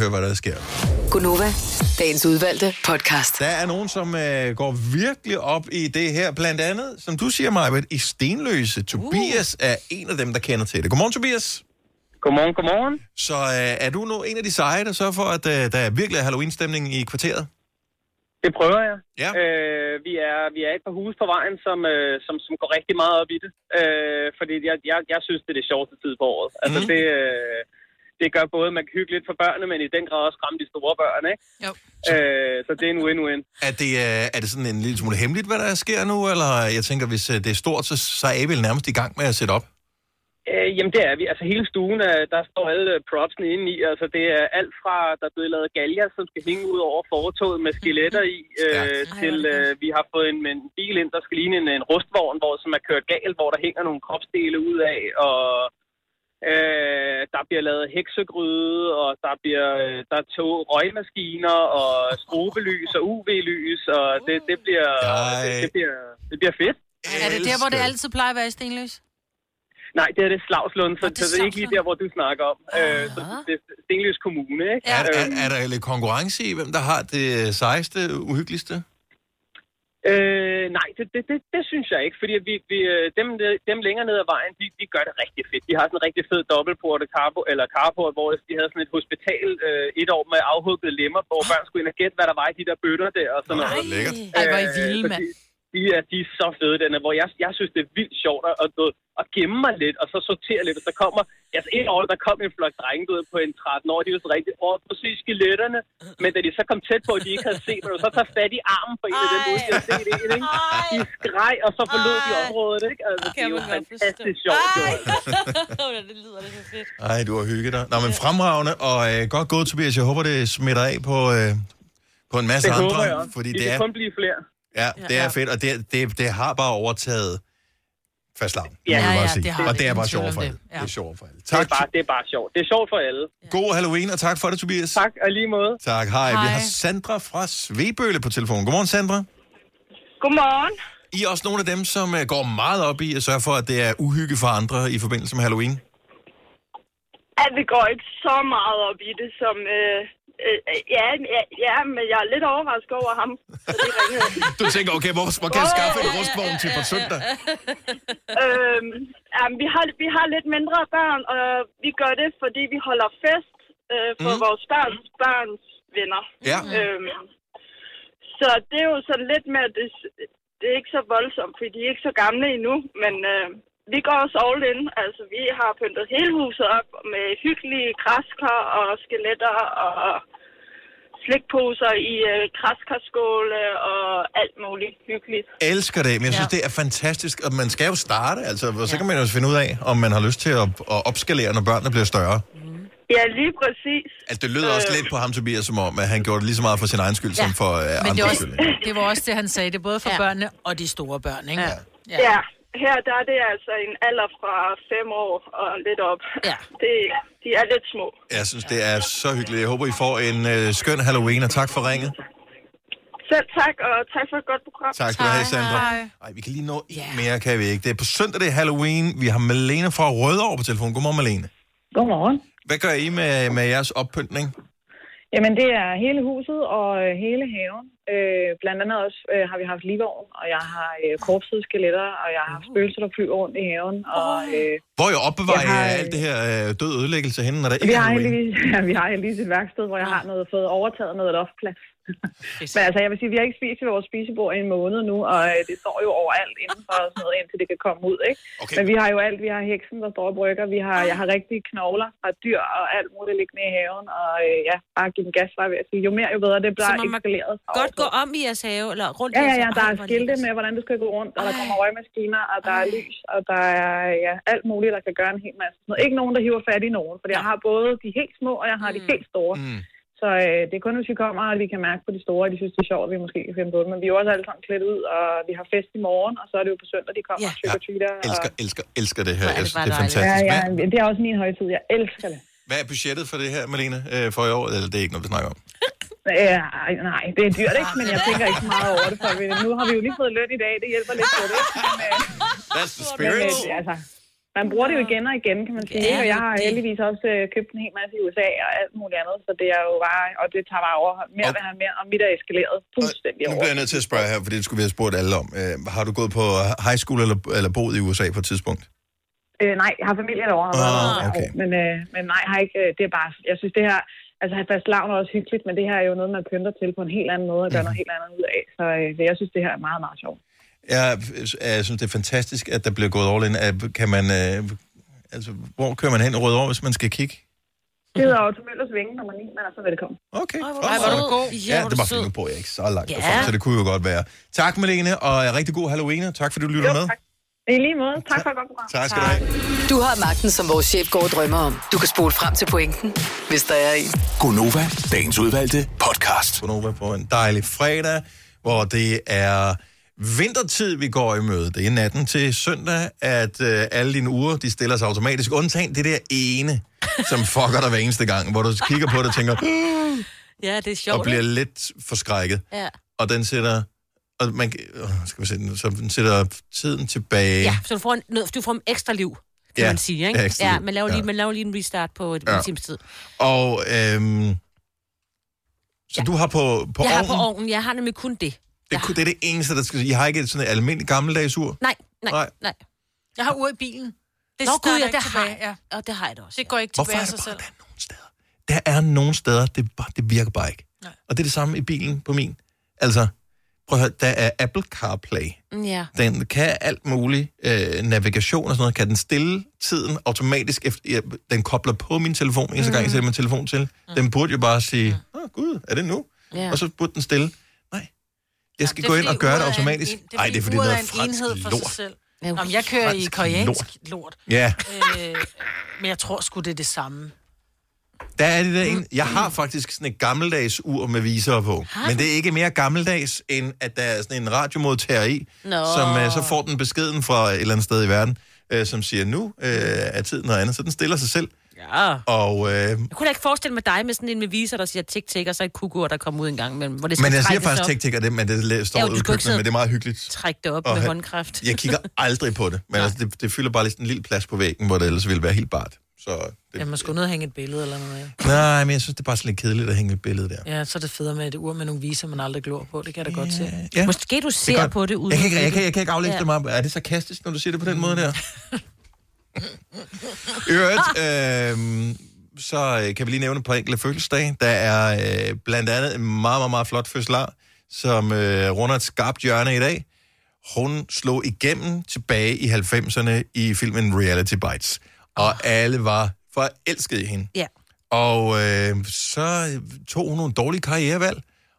Hør, hvad der sker. Gunova, dagens udvalgte podcast. Der er nogen, som øh, går virkelig op i det her. Blandt andet, som du siger, Majbet, i Uh. Stenløse. Tobias er en af dem, der kender til det. Godmorgen, Tobias. Godmorgen, godmorgen. Så øh, er du nu en af de seje, der sørger for, at øh, der er virkelig er Halloween-stemning i kvarteret? Det prøver jeg. Ja. Øh, vi, er, vi er et par huse på vejen, som, øh, som, som går rigtig meget op i det. Øh, fordi jeg, jeg, jeg synes, det er det sjoveste tid på året. Altså, Mhm. mm. det, øh, det gør både, at man kan hygge lidt for børnene, men i den grad også ramme de store børn, ikke? Jo. Øh, så det er en win-win. Er det, øh, er det sådan en lille smule hemmeligt, hvad der sker nu? Eller jeg tænker, hvis øh, det er stort, så, så er I vel nærmest i gang med at sætte op? Øh, jamen, det er vi. Altså, hele stuen, øh, der står alle øh, propsene inde i. Altså, det er alt fra, der er blevet lavet galger, som skal hænge ud over fortoget med skeletter [LAUGHS] i, øh, til øh, vi har fået en, en bil ind, der skal ligne en, en rustvogn, hvor, som er kørt galt, hvor der hænger nogle kropsdele ud af, og øh, der bliver lavet heksegryde, og der bliver øh, der er tog, røgmaskiner, og strobelys og UV-lys, og det, det, bliver, det, det, bliver, det bliver fedt. Er det der, hvor det altid plejer at være i Stenløse? Nej, det er det Slagslund, så, så det er ikke lige der, hvor du snakker om. Øh, så det er Stenløs Kommune, ikke? Er, er, er der lidt konkurrence i, hvem der har det øh, sejeste, uhyggeligste? Øh, nej, det, det, det, det synes jeg ikke, fordi vi, vi, øh, dem, ned- dem længere ned ad vejen, de, de gør det rigtig fedt. De har sådan en rigtig fed dobbeltportet carpo, eller carport, hvor de havde sådan et hospital øh, et år med afhuggede lemmer, hvor børn skulle ind og gætte, hvad der var i de der bøtter der og sådan noget. Øh, Lækkert. Ej, hvor er I vilde, så mand. de- De er, de er så fede, denne, hvor jeg, jeg synes, det er vildt sjovt at, at, du ved, at gemme mig lidt, og så sortere lidt. Og så kommer, altså et år, der kom en flok drenge du ved, på en 13 år, de var så rigtig, åh, præcis skeletterne. Men da de så kom tæt på, at de ikke havde set, men så tager fat i armen på en af dem, uden at se det, ikke? De skreg, og så forlod de området, ikke? Altså, det er jo fantastisk sjovt, jo. [LAUGHS] det lyder lidt så fedt. Ej, du har hygget dig. Nå, men fremragende, og øh, godt gået, Tobias. Jeg håber, det smitter af på, øh, på en masse Det andre. håber jeg også. Fordi De det kan er, kun blive flere. ja, det er fedt, og det, det, det har bare overtaget fast lavn. Ja, ja, sige. det har Og det. det er Ingen bare tvivl sjovt om for det. alle. Ja. Det er sjovt for alle. Tak. Det er, bare, det er bare sjovt. Det er sjovt for alle. God Halloween, og tak for det, Tobias. Tak, og lige måde. Tak, hej. Vi Hej. har Sandra fra Svebølle på telefonen. Godmorgen, Sandra. Godmorgen. I er også nogle af dem, som øh, går meget op i at sørge for, at det er uhygge for andre i forbindelse med Halloween. At vi går ikke så meget op i det, som... Øh, øh, ja, ja, ja, men jeg er lidt overrasket over ham. Så det ringede. Du tænker, okay, hvor, hvor kan jeg skaffe en rustvogn til på søndag? øhm, jamen, vi, har, vi har lidt mindre børn, og vi gør det, fordi vi holder fest øh, for Mm. mm. vores børns, børns venner. Ja. Øhm, så det er jo sådan lidt med, at det, det er ikke så voldsomt, fordi de er ikke så gamle endnu, men... Øh, vi går også all in. Altså, vi har pyntet hele huset op med hyggelige krasker og skeletter og slikposer i øh, kraskerskåle og alt muligt hyggeligt. elsker det, men jeg synes, ja. det er fantastisk. Og man skal jo starte, altså, og så kan man jo finde ud af, om man har lyst til at, at opskalere, når børnene bliver større. Ja, lige præcis. Altså, det lyder øh. også lidt på ham, Tobias, som om, at han gjorde det lige så meget for sin egen skyld, ja. som for uh, Men det, andres er skyld. også, det var også det, han sagde. Det er både for ja. børnene og de store børn, ikke? Ja. Ja. ja. Her der er det altså en alder fra 5 år og lidt op. Ja. [LAUGHS] Det, de er lidt små. Jeg synes, det er så hyggeligt. Jeg håber, I får en uh, skøn Halloween, og tak for ringet. Selv tak, og tak for et godt program. Tak skal du have, Sandra. Nej, vi kan lige nå en mere, kan vi ikke. Det er på søndag, det er Halloween. Vi har Malene fra Rødovre på telefonen. Godmorgen, Malene. Godmorgen. Hvad gør I med, med jeres oppyntning? Jamen, det er hele huset og øh, hele haven. Øh, blandt andet også øh, har vi haft livvogn, og jeg har øh, korpsede skeletter, og jeg har haft spøgelser, der flyver rundt i haven. Og, øh, Hvor jeg opbevarer Jeg jeg har, øh, alt det her øh, død ødelæggelse henne, når der vi, ikke er har Halloween? heldigvis, [LAUGHS] ja, vi har heldigvis et værksted, hvor jeg har noget, fået overtaget noget loftplads. [LAUGHS] Men altså, jeg vil sige, vi har ikke spist ved vores spisebord i en måned nu, og øh, det står jo overalt indenfor og sådan noget, indtil det kan komme ud, ikke? Okay. Men vi har jo alt. Vi har heksen, der står og brygger. Vi har, jeg har rigtige knogler fra dyr og alt muligt liggende i haven. Og øh, ja, bare give den gas, var jeg ved at sige. Jo mere, jo bedre. Det Så bliver må man eskaleret. Godt gå om i jeres have, eller rundt Ja, i ja, jeres ja. have. Der Ej, er hvor skilte med, hvordan du skal gå rundt, og der kommer røgmaskiner, og der er lys, og der er ja, alt muligt, der kan gøre en hel masse. Sådan noget. Ikke nogen, der hiver fat i nogen, for jeg har både de helt små, og jeg har de helt store. Så øh, det er kun, hvis vi kommer, og vi kan mærke på de store, at de synes, det er sjovt, at vi måske kan finde på det. Men vi er jo også alle sammen klædt ud, og vi har fest i morgen, og så er det jo på søndag, de kommer ja. og trick-or-treater. Elsker, elsker, elsker det her. og... Jeg synes, det er fantastisk. Ja, ja, Hvad- det er også min højtid. Jeg elsker det. Hvad er budgettet for det her, Malene, øh, for i år? Eller det er ikke noget, vi snakker om. Ja, ej, nej, det er dyrt, [LAUGHS] ikke? Men jeg tænker ikke så meget over det. For vi, nu har vi jo lige fået løn i dag, det hjælper lidt på det. ikke? Men, øh, That's the Men, spirit. øh, altså, man bruger det jo igen og igen, kan man sige. Ja, Ja, og jeg har det- heldigvis også øh, købt en hel masse i USA og alt muligt andet, så det er jo bare, og det tager bare overhånd mere og mere, mere og mit er eskaleret fuldstændig Nu over. bliver jeg nødt til at spørge her, for det skulle vi have spurgt alle om. Øh, har du gået på high school eller, eller boet i USA på et tidspunkt? Øh, nej, jeg har familie derovre, Ah, ah, okay. okay. men, øh, men nej, har ikke, øh, det er bare, jeg synes det her, altså at fast lavn er også hyggeligt, men det her er jo noget, man pynter til på en helt anden måde og gør noget helt andet ud af, så øh, jeg synes det her er meget, meget sjovt. Jeg, øh, jeg synes, det er fantastisk, at der bliver gået all in. Er- Kan man, øh, altså, hvor kører man hen i Rødovre, hvis man skal kigge? Det hedder Otto Møllers Vinge, nummer 9, men altså velkommen. Okay. Ej, hvor, var du god. Ja, det var fordi, nu bor jeg ikke så langt Ja. yeah. derfra, så det kunne jo godt være. Tak, Malene, og øh, rigtig god Halloween, og tak fordi du lytter med. I lige måde. Tak for et godt program. Tak skal du have. Du har magten, som vores chef går og drømmer om. Du kan spole frem til pointen, hvis der er en. Gonova, dagens udvalgte podcast. Gonova på en dejlig fredag, hvor det er vintertid, vi går i møde. Det er natten til søndag, at øh, alle dine uger, de stiller sig automatisk. Undtagen det der ene, [LAUGHS] som fucker dig hver eneste gang, hvor du kigger på det og tænker, Ja, det er sjovt. og bliver lidt forskrækket. Ja. Og den sætter, og man, øh, skal vi se, den- så den sætter tiden tilbage. ja, så du får, en, noget, du får en ekstra liv. kan Ja, man sige, ikke? ja, ekstra Ja, liv. man laver, lige, Ja. man laver lige en restart på et Ja. ja. times tid. Og øhm, så ja. du har på, på jeg ovnen? har på ovnen, jeg har nemlig kun det. Det, ku- det er det eneste, der skal... I har ikke et sådan et almindeligt gammeldags ur? Nej, nej, Nej. nej. nej. Jeg har uret i bilen. Det Nå, starter gud, ja, ikke det har tilbage, jeg. Ja. Og det har jeg da også. Det går ikke Hvorfor tilbage er af det sig selv. Der er nogle steder, det, er bare, det virker bare ikke. Nej. Og det er det samme i bilen på min. Altså, prøv at høre, der er Apple CarPlay. Mm, Ja. Den kan alt muligt. Øh, navigation og sådan noget. Kan den stille tiden automatisk? Efter, ja, den kobler på min telefon, eneste mm. gang jeg sætter min telefon til. Mm. Den burde jo bare sige, åh oh, gud, er det nu? Mm. Ja. Og så burde den stille. Nej, jeg skal Det er gå ind fordi og gøre uret det er en automatisk. en- Nej, det er fordi, uret det er en enhed fransk for sig lort. selv. Nå, men jeg kører i Fransk koreansk lort. lort. lort. Ja. Øh, men jeg tror sgu, det er det samme. Der er det der en. Jeg Mm. har faktisk sådan et gammeldags ur med visere på. Har Men du? det er ikke mere gammeldags, end at der er sådan en radiomodtager i, Nå. som øh, så får den beskeden fra et eller andet sted i verden, øh, som siger, nu øh, er tiden noget andet. Så den stiller sig selv. Ja. Og, øh, Jeg kunne da ikke forestille mig dig med sådan en med viser, der siger tik-tik, og så et kukur, der kommer ud en gang imellem. Hvor det skal men jeg siger trækkes faktisk op. tek-tek af det, men det la- står Ja, jo, ude i du skal jo ikke køkkenet, men det er sidde- meget hyggeligt. Træk det op Og med han- håndkraft. Jeg [LAUGHS] kigger aldrig på det, men altså, det, det fylder bare lige sådan en lille plads på væggen, hvor det ellers ville være helt bart. Så det, Ja, man skulle nødt hænge et billede eller noget. ja. nej, men jeg synes, det er bare sådan lidt kedeligt at hænge et billede der. Ja, så er det federe med et ur med nogle viser, man aldrig glor på. Det kan jeg da godt se. Ja. Måske du Det er ser godt. på det uden Jeg kan, at ikke, se jeg, kan, jeg kan ikke aflæse Ja. det meget. Er det sarkastisk, når du siger det på den måde [LAUGHS] der? I øvrigt, øh, så øh, kan vi lige nævne et par enkelte fødselsdage. Der er øh, blandt andet en meget, meget, meget flot fødselar, som øh, runder et skarpt hjørne i dag. Hun slog igennem tilbage i 90'erne i filmen Reality Bites. Og Ah. alle var forelskede i hende. Ja. Og øh, så tog hun nogle dårlige karrierevalg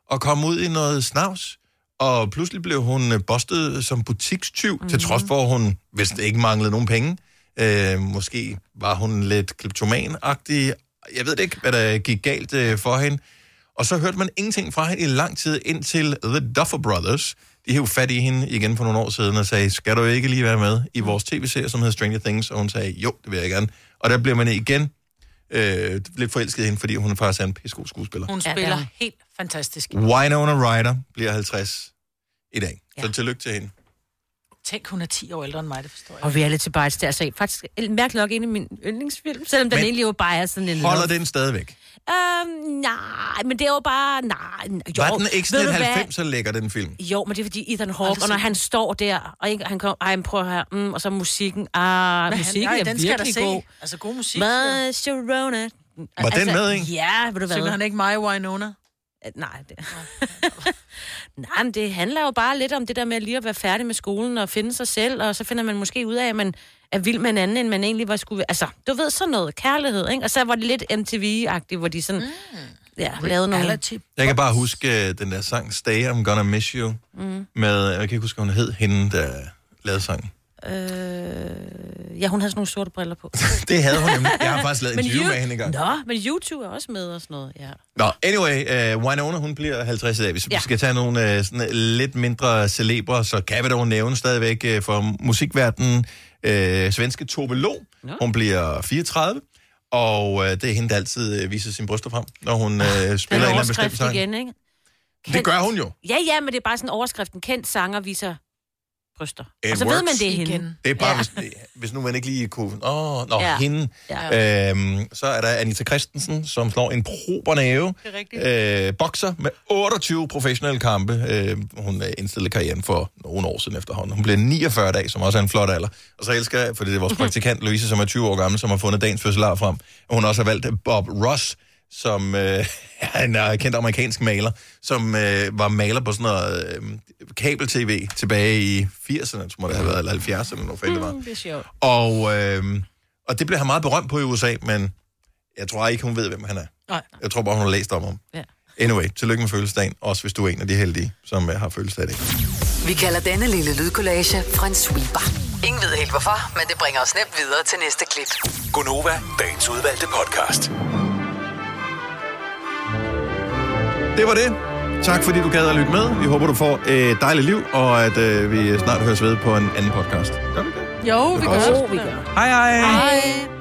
og kom ud i noget snavs. Og pludselig blev hun øh, bustet som butikstyv, mm. til trods for, at hun vist ikke manglede nogen penge. Øh, måske var hun lidt kleptoman-agtig. Jeg ved det ikke, hvad der gik galt øh, for hende. Og så hørte man ingenting fra hende i lang tid, indtil The Duffer Brothers, de hævde fat i hende igen for nogle år siden og sagde, skal du ikke lige være med i vores tv-serie, som hedder Stranger Things? Og hun sagde, jo, det vil jeg gerne. Og der blev man igen øh, lidt forelsket i hende, fordi hun faktisk er en pissegod skuespiller. Hun Ja. spiller helt fantastisk. Winona Ryder bliver 50 i dag. Så tillykke til hende. Tænk, hun er 10 år ældre end mig, det forstår jeg. Og reality bites, det er altså faktisk mærkeligt nok en af mine yndlingsfilm, selvom den Men egentlig jo bare er sådan en... Holder den stadigvæk? Øhm, nej, men det er jo bare... Nej, jo, Var den ikke ved sådan du hvad? 90, så lækker den film? Jo, men det er fordi Ethan Har du Hawke, og når set han står der, og ikke, han kommer, ej, men prøv her, mm, og så musikken, ah, Men han- musikken nej, er den skal jeg da virkelig se. god. Altså, god musik. Med Sharona. Var den med, ikke? Ja, ved du hvad? Synger han ikke mig, Winona? Nej, det... Nej, men det handler jo bare lidt om det der med lige at være færdig med skolen og finde sig selv, og så finder man måske ud af, at man er vild med en anden, end man egentlig var skulle være. Altså, du ved, sådan noget kærlighed, ikke? Og så var det lidt MTV-agtigt, hvor de sådan, mm. ja, lavede nogle... Jeg kan bare huske øh, den der sang, Stay, I'm Gonna Miss You, Mm. med, jeg kan ikke huske, hvad hun hed, hende, der lavede sangen. Øh, ja, hun havde sådan nogle sorte briller på. [LAUGHS] Det havde hun nemlig. Jeg har faktisk lavet Men interview you- med hende engang. Nå, men YouTube er også med og sådan noget, ja. Nå, anyway, uh, Winona, hun bliver 50 i dag. Hvis vi Ja. skal tage nogle uh, sådan, lidt mindre celebre, så kan vi dog nævne stadigvæk uh, for musikverdenen uh, svenske Tove Lo. Nå. Hun bliver 34, og uh, det er hende, der altid uh, viser sin bryster frem, når hun uh, spiller en eller anden bestemt Ah, overskrift sang. igen, ikke? Det gør hun jo. Ja, ja, men det er bare sådan overskriften. Kendt sanger viser bryster. It og så ved man, works. det er hende. Det er bare, ja. hvis, hvis nu man ikke lige kunne... Åh, oh, nå, ja. Ja. hende. Ja. Ja. Øhm, så er der Anita Christensen, som slår en prober næve. Øh, bokser med 28 professionelle kampe. Øh, hun øh, indstillede karrieren for nogle år siden efterhånden. Hun bliver 49 dag, som også er en flot alder. Og så elsker jeg, fordi det er [LAUGHS] vores praktikant Louise, som er 20 år gammel, som har fundet dagens fødselar frem. Og hun også har valgt Bob Ross, som øh, [LAUGHS] er en øh, kendt amerikansk maler, som øh, var maler på sådan noget øh, kabel-tv tilbage i 80'erne, tror jeg det har været, eller 70'erne, eller hvor fanden det var. Det er sjovt. Og, øh, og det blev han meget berømt på i USA, men jeg tror ikke, hun ved, hvem han er. Nej. Jeg tror bare, hun har læst om ham. Ja. Anyway, tillykke med fødselsdagen, også hvis du er en af de heldige, som øh, har fødselsdag i dag. Vi kalder denne lille lydkollage en sweeper. Ingen ved helt hvorfor, men det bringer os nemt videre til næste klip. Gonova, dagens udvalgte podcast. Det var det. Tak fordi du gad at lytte med. Vi håber, du får et øh, dejligt liv, og at øh, vi snart høres ved på en anden podcast. Gør vi det? Jo, Det vi gør gør. også. Hej hej. Hej.